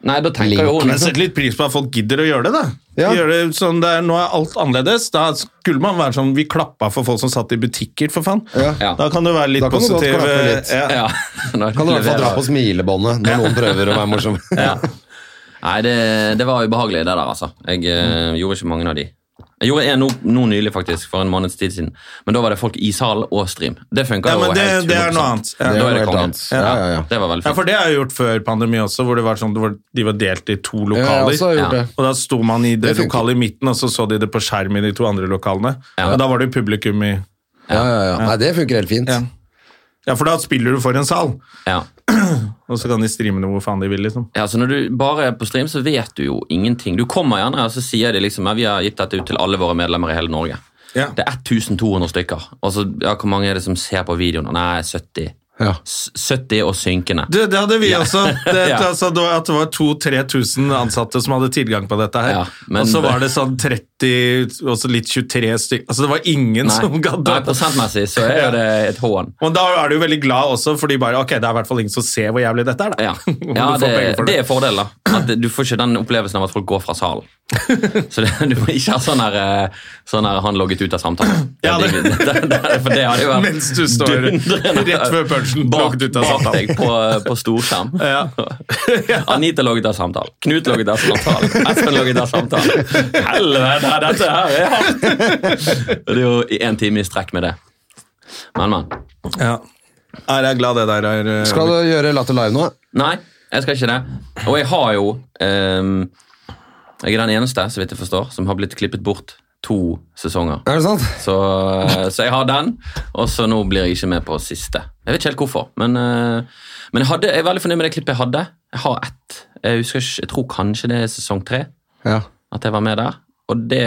Nei, da tenker jo hun
Men sett litt pris på at folk gidder å gjøre det, da.
Ja.
Gjør det sånn det er, nå er alt annerledes. Da skulle man være sånn Vi klappa for folk som satt i butikker, for faen.
Ja.
Da kan du være litt
Da kan du godt
positiv. eh,
klappe litt.
Ja.
ja. Når
Kan du i hvert fall
leverer-
dra på smilebåndet når noen prøver å være morsom.
Ja. Nei, det, det var ubehagelig det der, altså. Jeg eh, gjorde ikke mange av de. Jeg gjorde en nå, nå nylig, faktisk, for en måneds tid siden. Men da var det folk i salen og stream. Det funka
Ja,
jo
men det,
helt
det er
100%.
noe annet.
Det
Ja.
er
Da
jo
er det
helt
konge.
annet. Ja, ja, ja.
Det var veldig
Ja,
fint.
for det har jeg gjort før pandemi også, hvor det var sånn, det var, de var delt i to
Jeg har
lokaler.
også gjort
Ja.
det.
Og da sto man i det,
altså, Det funker.
lokalet i midten, og så så de det på skjerm i de to andre lokalene. Og da var det jo publikum i
Ja, ja, ja. Nei, det funker helt fint.
Ja. Ja, for da spiller du for en sal,
Ja.
og så kan de streame det hvor faen de vil, liksom.
Ja, så Når du bare er på stream, så vet du jo ingenting. Du kommer gjerne, og så sier de liksom ja, vi har gitt dette ut til alle våre medlemmer i hele Norge.
Ja.
Det er 1200 stykker. Og så, ja, Hvor mange er det som ser på videoen? Nei, 70.
Ja.
S 70 og synkende.
Det, det hadde vi også. Det,
Ja.
altså, det var, at det var 2000-3000 ansatte som hadde tilgang på dette her.
Ja, men-
og så var det sånn 30, og så litt 23 stykker. Altså, det var ingen
Nei.
som gadd.
Nei, prosentmessig så er jo det et hån.
Og da er du jo veldig glad også, fordi bare, ok, det er i hvert fall ingen som ser hvor jævlig dette er, da.
Ja,
Om
ja
du får
det,
penger for
det er fordelen. da. At Du får ikke den opplevelsen av at folk går fra salen. Så det, du må ikke ha sånn her, eh, sånn her 'han logget ut av samtalen'.
Ja, det-
det, det, det, for det hadde jo vært
Mens du står
dundrende
rett før punchen,
bak,
logget ut av
bak
samtalen.
deg på, eh, på storskjerm.
Ja.
Anita logget av samtalen. Knut logget av samtalen. Espen logget av samtalen. Helvete, dette her er hardt! Og Det er jo i en time i strekk med det. Men, men.
Ja. Nei, jeg er glad det der er eh,
Skal du gjøre Latter Live nå?
Nei, jeg skal ikke det. Og jeg har jo ehm, Jeg er den eneste, så vidt jeg forstår, som har blitt klippet bort to sesonger.
Er det sant?
Så, eh, så jeg har den, og så nå blir jeg ikke med på siste. Jeg vet ikke helt hvorfor, men, eh, men jeg, hadde, jeg er veldig fornøyd med det klippet jeg hadde. Jeg har ett. Jeg, husker, ikke- jeg tror kanskje det er sesong tre
Ja.
at jeg var med der. Og det,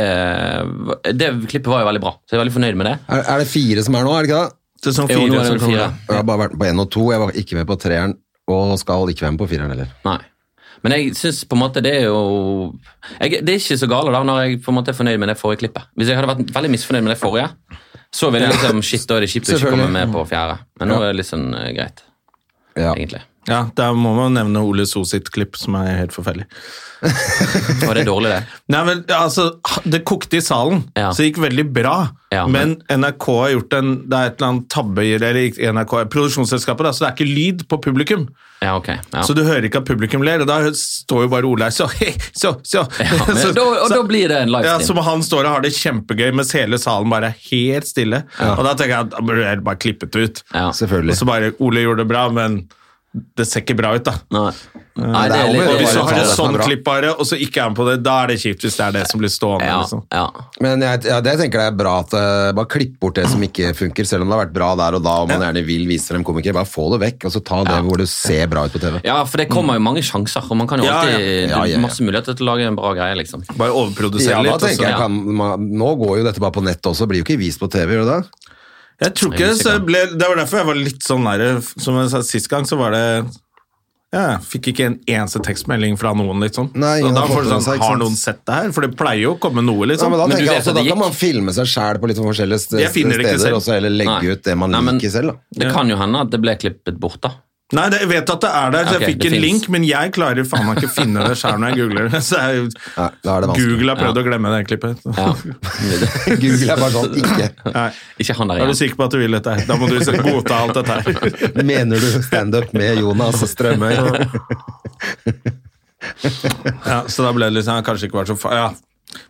det klippet var jo veldig bra, så jeg er veldig fornøyd med det.
Er, er det fire som er nå, er det ikke det?
sesong
Jo, nå er
sånn fire
det
som
vel
kommer.
fire.
Jeg har bare vært med på én og to. Jeg var ikke med på treeren, og skal ikke være med på fireren heller.
Nei. Men jeg syns på en måte det er jo jeg, Det er ikke så gale da når jeg på en måte er fornøyd med det forrige klippet. Hvis jeg hadde vært veldig misfornøyd med det forrige, så ville jeg liksom Shit, da er det kjipt å ikke
Selvfølgelig.
komme med på fjerde. Men nå er det litt sånn eh, greit,
Ja.
egentlig.
Ja, der må man nevne Ole So sitt klipp, som er helt forferdelig.
Og det er dårlig, det.
Nei, men altså, Det kokte i salen,
Ja.
så det gikk veldig bra.
Ja,
men, NRK har gjort en det er et eller annet tabbe i eller ikke NRK, produksjonsselskapet, da, så det er ikke lyd på publikum.
Ja, ok. Ja.
Så du hører ikke at publikum ler, og da står jo bare Ole her så, hei, så, så.
ja, men,
så,
da, og
så-
da blir det en
ja,
livestream.
Som han står og har det kjempegøy, mens hele salen bare er helt stille. Og da tenker jeg at da burde jeg bare klippet det ut.
Ja.
Og
Selvfølgelig.
så bare Ole gjorde det bra, men det ser ikke bra ut, da.
Nei. Nei,
det er
Og
jo bare
hvis du
å
altså.
har
ta
et
det som er
sånn
bra.
klipp bare, og så ikke er han på det, da er det kjipt hvis det er det som blir stående.
ja,
Liksom.
ja.
Men jeg, ja, det tenker jeg er bra at eh, bare klipp bort det som ikke funker, selv om det har vært bra der og da, og man gjerne vil vise frem komikere. Bare få det vekk, og så ta det hvor det ser bra ut på TV.
ja, for det kommer jo mange sjanser, og man kan jo
Ja,
alltid
ja.
Ja, ja, ja.
Masse muligheter til å lage en bra greie, liksom.
Bare overprodusere
Ja, da
litt. og så-
tenker jeg
ja.
kan man, Nå går jo dette bare på nett også, blir jo ikke vist på TV, gjør det det?
Jeg tror ikke
Jeg
det,
husker
så
ikke.
jeg ble, det var derfor jeg var litt sånn der, som jeg sa sist gang, så var det ja, jeg fikk ikke en eneste tekstmelding fra noen, liksom.
Nei,
så
ingen
da
har
får
fått
du
med
sånn,
seg, ikke
har
sant?
noen sett det her? For det pleier jo å komme noe,
Ja,
liksom.
men da
Men du
tenker jeg
vet
altså,
at
da
det
kan
gikk.
man filme seg sjæl på litt sånn forskjellige st-
Jeg finner det ikke
steder,
selv.
og så heller legge
Nei.
ut det man
Nei, men-
liker selv, da.
Det kan jo hende at det ble klippet bort, da.
Nei, det, jeg vet at det er der, så
Ok,
jeg fikk
det
en
finnes.
link, men jeg klarer faen meg ikke å finne det sjøl når jeg googler det. Så jeg,
Nei, da er det vanskelig.
Google har prøvd å glemme det klippet.
Ja.
Google er bare sånn ikke.
Nei.
Ikke han der
Er du
igjen.
sikker på at du vil dette her? Da må du se- godta alt dette her.
Mener du standup med Jonas Strømøy?
Ja, så da ble det liksom ja, Kanskje ikke vært så fa Ja.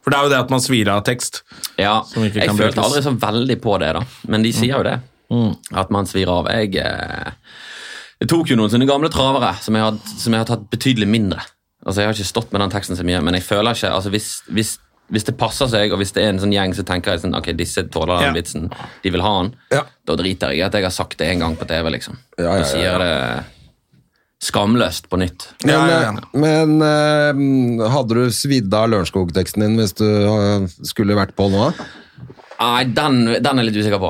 For det er jo det at man svir av tekst.
Ja,
Som ikke
jeg
kan
følte
brukes. Mm.
aldri så veldig på det, da. Men de sier jo det. At man svir av. Jeg, eh, jeg tok jo noen sånne gamle travere som jeg, har, som jeg har tatt betydelig mindre. Altså, Jeg har ikke stått med den teksten så mye, men jeg føler ikke altså, hvis, hvis, hvis det passer seg, og hvis det er en sånn gjeng, så tenker jeg sånn Ok, disse tåler den
Ja.
vitsen. De vil ha den.
Ja.
Da driter jeg i at jeg har sagt det en gang på TV, liksom.
Ja, ja,
Da sier
ja,
jeg det skamløst på nytt.
Men,
Ja, ja, ja.
men eh, hadde du svidd av Lørenskog-teksten din hvis du eh, skulle vært på nå? da?
Nei, den, den er jeg litt usikker på.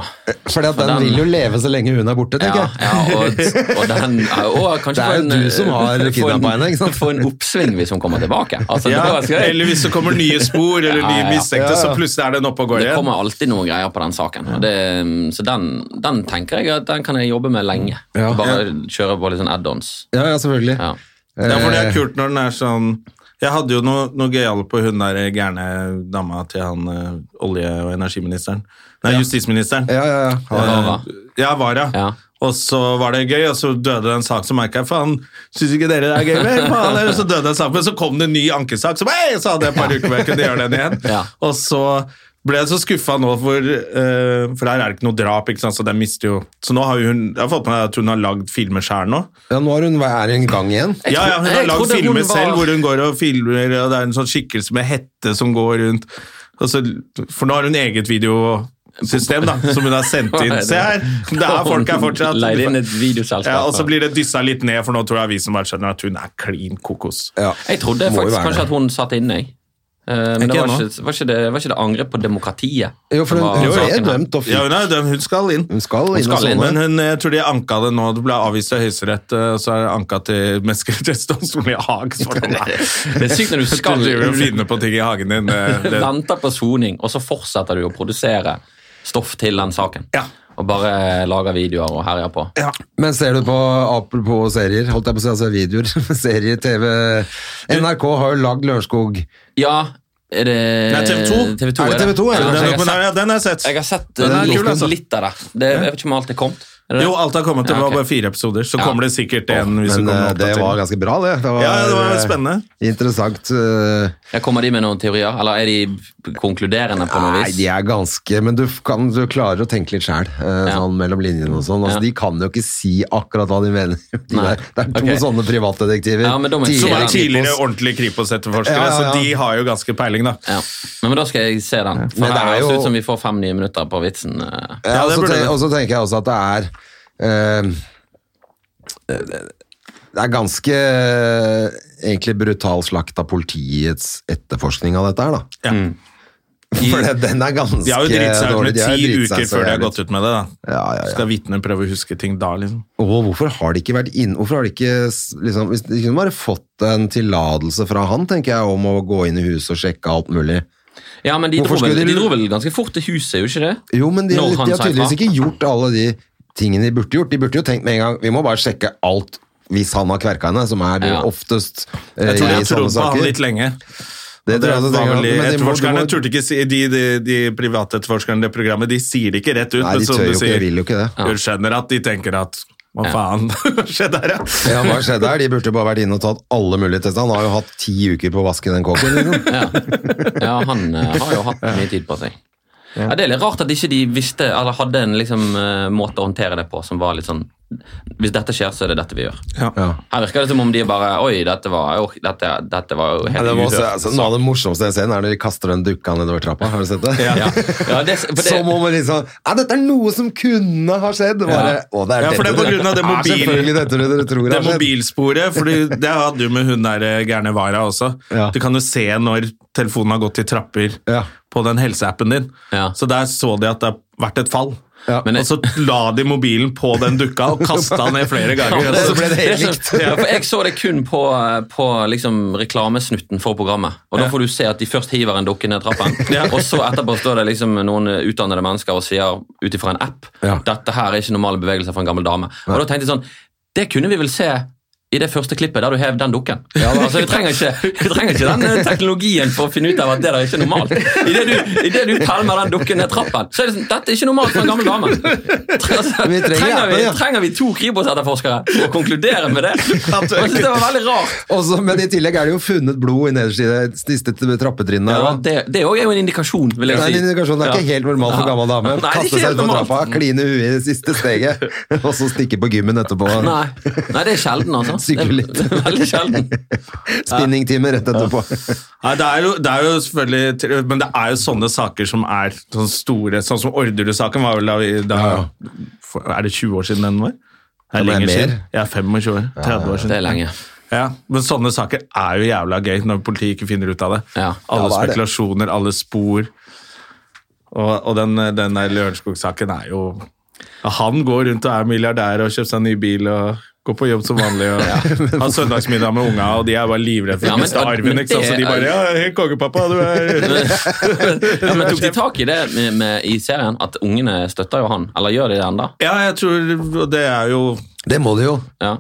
Fordi at
For
den,
den-
vil jo leve så lenge hun er borte, tenker
Ja,
jeg.
ja, og, og den, og
Det
kanskje
er
få
jo
en- eh,
du som har
få en-
kidnappet henne, ikke sant?
Få en oppsving hvis hun kommer tilbake. Altså,
Ja,
da skal jeg-
eller hvis det kommer nye spor eller
Ja, ja,
nye
ja.
mistenkte,
Ja, ja.
så plutselig er den oppe og går
Det
igjen.
kommer alltid noen greier på den saken. og Det, mm, så den, den tenker jeg at den kan jeg jobbe med lenge.
Ja.
Bare kjøre på litt sånn add-ons.
Ja, ja, selvfølgelig. Eh,
Ja.
Ja, for det
Eh.
er kult når den er sånn Jeg hadde jo noe, noe gøyale på hun der gærne dama til han eh, olje- og energiministeren. Nei, justisministeren.
Ja, ja, ja.
Eh,
Vara.
ja, Vara.
Ja.
Og så var det gøy, og så døde det en sak, så merka jeg faen, syns ikke dere det er gøy mer? Faen, eller så døde det en sak, men så kom det en ny ankesak, så, «Ei!» så hadde jeg et par uker hvor jeg kunne gjøre den igjen.
Ja.
Og så ble jeg så skuffa nå, for, eh, for her er det ikke noe drap, ikke sant? så den mister jo Så nå har jo hun Jeg har fått med meg at hun har lagd filmer sjøl nå.
Ja, nå er hun er hun i gang igjen.
Ja, ja, hun
Jeg
har lagd
trodde hun
filmer
var-
selv hvor hun går og filmer, og det er en sånn skikkelse med hette som går rundt. Og så- for nå har hun eget videosystem, da, som hun har sendt inn. Se her! Det er folk her fortsatt.
Leid inn et videoselskap.
Ja, og så blir det dyssa litt ned, for nå tror jeg avisen bare skjønner at hun er klin kokos.
Ja.
Jeg trodde
Må jo
faktisk
være
kanskje
det.
at hun satt inne, jeg. Eh, Men
Ikke
det var
ennå.
ikke, var, ikke det, var ikke det angrep på demokratiet?
Jo, for
som var
hun, hun ble
saken her?
dømt og
Ja,
fikk
hun, er, jo dømt, hun skal inn.
Hun skal inn og
skal inn,
sone.
men hun, jeg tror de anka det nå. Det ble avvist av Høyesterett, eh, og så er det anka til Menneskerettighetsdomstolen i Haag. så var det-
Det er sykt når du skal
Du driver og finner på ting i hagen din. det- Eh, det-
venter på soning, og så fortsetter du å produsere stoff til den saken.
Ja.
Og bare lager videoer og herjer på.
Ja.
Men ser du på apropos serier, holdt jeg på å si, altså videoer, serier, TV NRK har jo lagd Lørenskog.
Ja, er det
Nei, TV2.
Eh, TV 2
Er det TV 2, ja?
Den,
Jeg har
dokumentaren, ja, den har jeg sett.
Jeg har sett
Den er
eh,
kul,
litt-
altså.
litt av det. det. Jeg vet ikke om alt er kommet. Er det det?
Jo, alt har kommet. Det
Ja,
var
ok.
bare fire episoder, så
Ja.
kommer det sikkert en. hvis
Men
det kommer
eh,
en
det var
oppdatering.
ganske bra, det. Det var,
Ja, ja, det var
eh,
spennende.
Interessant. eh,
Ja, Kommer de med noen teorier, eller er de konkluderende på noe
Nei,
vis?
de er ganske Men du, kan, du klarer å tenke litt sjæl, eh,
Ja.
sånn mellom linjene og sånn. Altså,
Ja.
De kan jo ikke si akkurat hva de mener. De
Nei.
der, det er to
Ok.
sånne privatdetektiver.
Ja, men de er-
Som
Ja,
er
ja.
tidligere ordentlige Kripos-etterforskere,
Ja, ja, ja.
så de har jo ganske peiling, da.
Ja. Men, men da skal jeg se den. For
Men det
her
er
høres det
jo-
ut som vi får fem nye minutter på vitsen. eh.
Ja,
Ja, det
og så
burde
ten-
det.
og så tenker jeg også at det er eh, eh, Det er ganske eh, egentlig brutal slakt av politiets etterforskning av dette her, da.
Ja.
Mm. For det- den er ganske dårlig.
De har jo driti seg ut med
De har
ti
driti seg
uker
så
før de har
jævlig
gått ut med det. da.
Ja, ja, ja.
Skal vitnet prøve å huske ting da, liksom?
Og hvorfor har de ikke vært inn... Hvorfor har de ikke s- liksom, Hvis de kunne bare fått en tillatelse fra han, tenker jeg, om å gå inn i huset og sjekke alt mulig.
Ja, men de dro,
Hvorfor
vel,
skulle
de
de-
dro vel ganske fort til huset, gjorde ikke det?
Jo, men de,
Når
de
han
har
sa
tydeligvis
ifra.
ikke gjort alle de tingene de burde gjort. De burde jo tenkt med en gang Vi må bare sjekke alt hvis han har kverka henne, som er det
Ja.
oftest eh,
Jeg tror de har
i sånne
trodd på han
saker.
litt lenge.
Det tror jeg også,
Det var
tenker
veldig-
jeg. Men de må- de
etterforskerne
må-
turte ikke si De, de, de private etterforskerne i det programmet, de sier det ikke rett ut.
Nei,
men
de
som
tør
du
jo ikke,
sier,
de vil jo ikke det.
Du skjønner at de tenker at hva faen skjedde her, ja?
Ja, hva skjedde her? De burde jo bare vært inne og tatt alle mulige tester. Han har jo hatt ti uker på å vaske den kåken. Liksom.
Ja, han eh, har jo hatt mye tid på seg. Ja. det er litt rart at ikke de visste, eller hadde en liksom, eh, måte å håndtere det på som var litt sånn Hvis dette skjer, så er det dette vi gjør.
Ja.
Her virker det som om de bare Oi, dette var jo, dette, dette var jo
Ja,
helt
det var også,
uhørt.
altså, noe av det morsomste jeg ser, er når de kaster den dukka nedover trappa. Har du sett det?
Ja. Ja, det, for det,
Som om man liksom Ja, dette er noe som kunne ha skjedd! Bare, Å, det er
Ja, for det er
dette
på grunn av det
dere-
mobilen.
Ja, selvfølgelig dette dere tror
Det
har skjedd.
mobilsporet, for det hadde jo med hun der eh, gærne Vara også.
Ja.
Du kan jo se når telefonen har gått i trapper
Ja.
på den helseappen din.
Ja.
Så der så de at det har vært et fall.
Ja.
Men
Og så la de mobilen på den dukka og kasta den ned flere ganger.
Og så ble det helt
Det er
likt.
så- Ja, for jeg så det kun på, på liksom reklamesnutten for programmet. Og da får du se at de først hiver en dukke ned trappen, og så etterpå står det liksom noen utdannede mennesker og sier ut ifra en app
Ja.
dette her er ikke normale bevegelser for en gammel dame. Og da tenkte jeg sånn Det kunne vi vel se i det første klippet der du hev den dukken. altså, vi, trenger ikke, vi trenger ikke den eh, teknologien for å finne ut av at det der ikke er normalt. Idet du, i det du pælmer den dukken ned trappen, så er det sånn Dette er ikke normalt for en gammel dame. Altså,
Vi trenger appen,
vi,
ja.
trenger vi to Kripos-etterforskere for å konkludere med det? Jeg synes det var veldig rart.
Og så- men i tillegg er det jo funnet blod i nederst i det siste trinnet.
Ja,
her, da.
det det er jo en indikasjon, vil
Det
jeg
er
si.
en indikasjon. Det er ikke
Ja.
helt normalt for
Ja.
gammel dame.
Nei, det er
Kaste
ikke
seg
helt
ut på
normalt.
trappa, kline huet i det siste steget, og så stikke på gymmen etterpå.
Nei. Nei, det er sjelden, altså.
Sykle litt.
Det er veldig sjelden.
Spinningtime rett etterpå.
Nei, det er, jo, det er jo selvfølgelig Men det er jo sånne saker som er sånne store Sånn som Orderud-saken var vel da, vi, da for, Er det 20 år siden den var? Det
Ja,
er
men
lenger
det er
siden. Ja, 25 år. 30 år siden.
Det er lenge.
Ja, men sånne saker er jo jævla gøy når politiet ikke finner ut av det.
Ja.
Alle
Ja, det er det.
spekulasjoner, alle spor. Og, og den, den der Lørenskog-saken er jo ja, Han går rundt og er milliardær og kjøper seg en ny bil og går på jobb som vanlig og har søndagsmiddag med unga, og de er bare livredde for
Ja,
å
men-
miste arven. ikke sant? Så de bare Ja, helt kongepappa, du er
Ja, men Tok de tak i det med, med, i serien, at ungene støtter jo han? Eller gjør de det ennå?
Ja, jeg tror det er jo
Det må det jo.
Ja.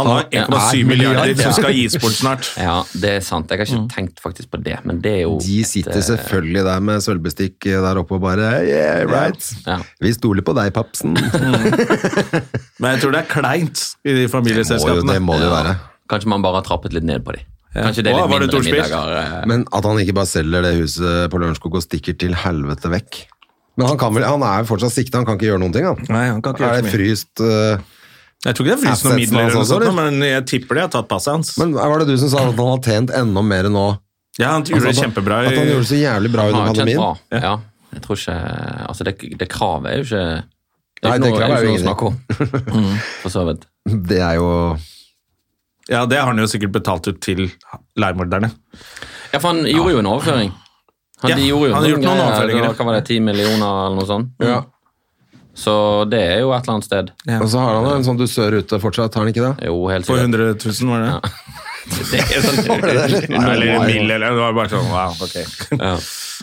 Han har
Ja,
1,7
er
milliarder
milliard, ja.
som skal gis bort snart.
ja, det er sant. Jeg har ikke tenkt faktisk på det, men det er jo
De sitter selvfølgelig der med sølvbestikk der oppe og bare Yeah, right.
Ja. Mm,
Vi stoler på deg, Papsen.
Men jeg tror det er kleint i de
Må jo,
familieselskapene.
det må det jo være.
Kanskje man bare har trappet litt ned på dem. Kanskje det er
Å,
litt
var det et
mindre
ordspill?
middager. eh.
Men at han ikke bare selger det huset på Lørenskog og stikker til helvete vekk. Men han, kan vel, han er jo fortsatt sikta, han kan ikke gjøre noen ting. Han.
Nei, han kan ikke gjøre
er
så
det
mye.
fryst eh,
Jeg tror ikke det er fryst noen
Assets
midler, eller noe
hans også,
sånt, men jeg tipper de har tatt passet hans.
Men var det du som sa at han har tjent enda mer nå?
ja, han gjorde det kjempebra.
Altså, At han gjorde det så jævlig bra under
har jo tjent
pandemien?
Ah, bra. Ja. Jeg tror ikke Altså, det, det kravet er jo ikke
Nei,
Det er
det
ikke noe,
kravet er
er jo
jo
ikke noe å snakke om. Mm, for så vidt.
Det er jo
Ja, det har han jo sikkert betalt ut til leirmorderne.
Ja, for han gjorde jo en overføring. Han,
Ja,
de gjorde jo
han har gjort noen
greier.
overføringer,
Det
ja.
var- Hva var det, 10 millioner eller noe sånt? Mm. Så det er jo et eller annet sted.
Og så har han jo en sånn dusør ute fortsatt, har han ikke det?
Jo, helt
På
sikkert.
100 000, var det?
Det er sånn,
Eller en mil, eller Det var bare sånn, wow, ok.
ja.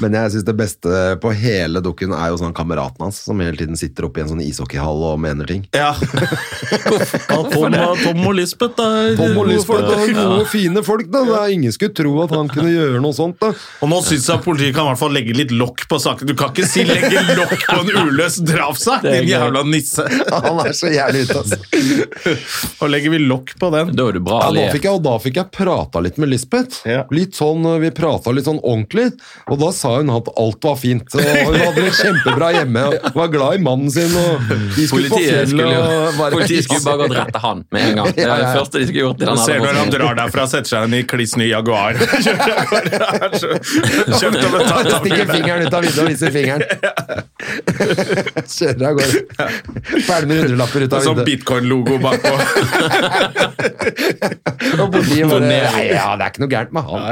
Men jeg syns det beste på hele dukken er jo sånn kameraten hans, som hele tiden sitter oppe i en sånn ishockeyhall og mener ting.
Ja. Tom, Tom og Lisbeth, da.
Tom og Lisbeth er gode, fine folk, da. Det er ingen skulle tro at han kunne gjøre noe sånt, da.
Og nå syns jeg politiet kan i hvert fall legge litt lokk på saken. Du kan ikke si 'legge lokk på en uløst drapssak',
er
din
gøy.
jævla nisse.
Han er så jævlig ute, altså.
Og legger vi lokk på den?
Da er du bra
Ja, da
alliert.
fikk jeg, og da fikk jeg prata litt med Lisbeth.
Ja.
Litt sånn, Vi prata litt sånn ordentlig, og da sa hun at alt var fint. Og hun hadde det kjempebra hjemme og var glad i mannen sin. Og de skulle på
Politiet skulle,
fjellet
jo,
og bare
politiet skulle bare gått rett til han med en gang. Det var det første de skulle gjort. i
Du
den
ser når han
advokaten.
drar derfra, setter seg inn i kliss ny Jaguar. Kjører av gårde. Han er så- Kjøpt og betalt. av
Stikker
fyren.
fingeren ut av vinduet og viser fingeren. Kjører av gårde. Ferdig med hundrelapper ut
Og
av
Sånn
vinduet.
bitcoin-logo bakpå.
Og politiet bare
Donere.
Nei, ja, det er ikke noe gærent med han.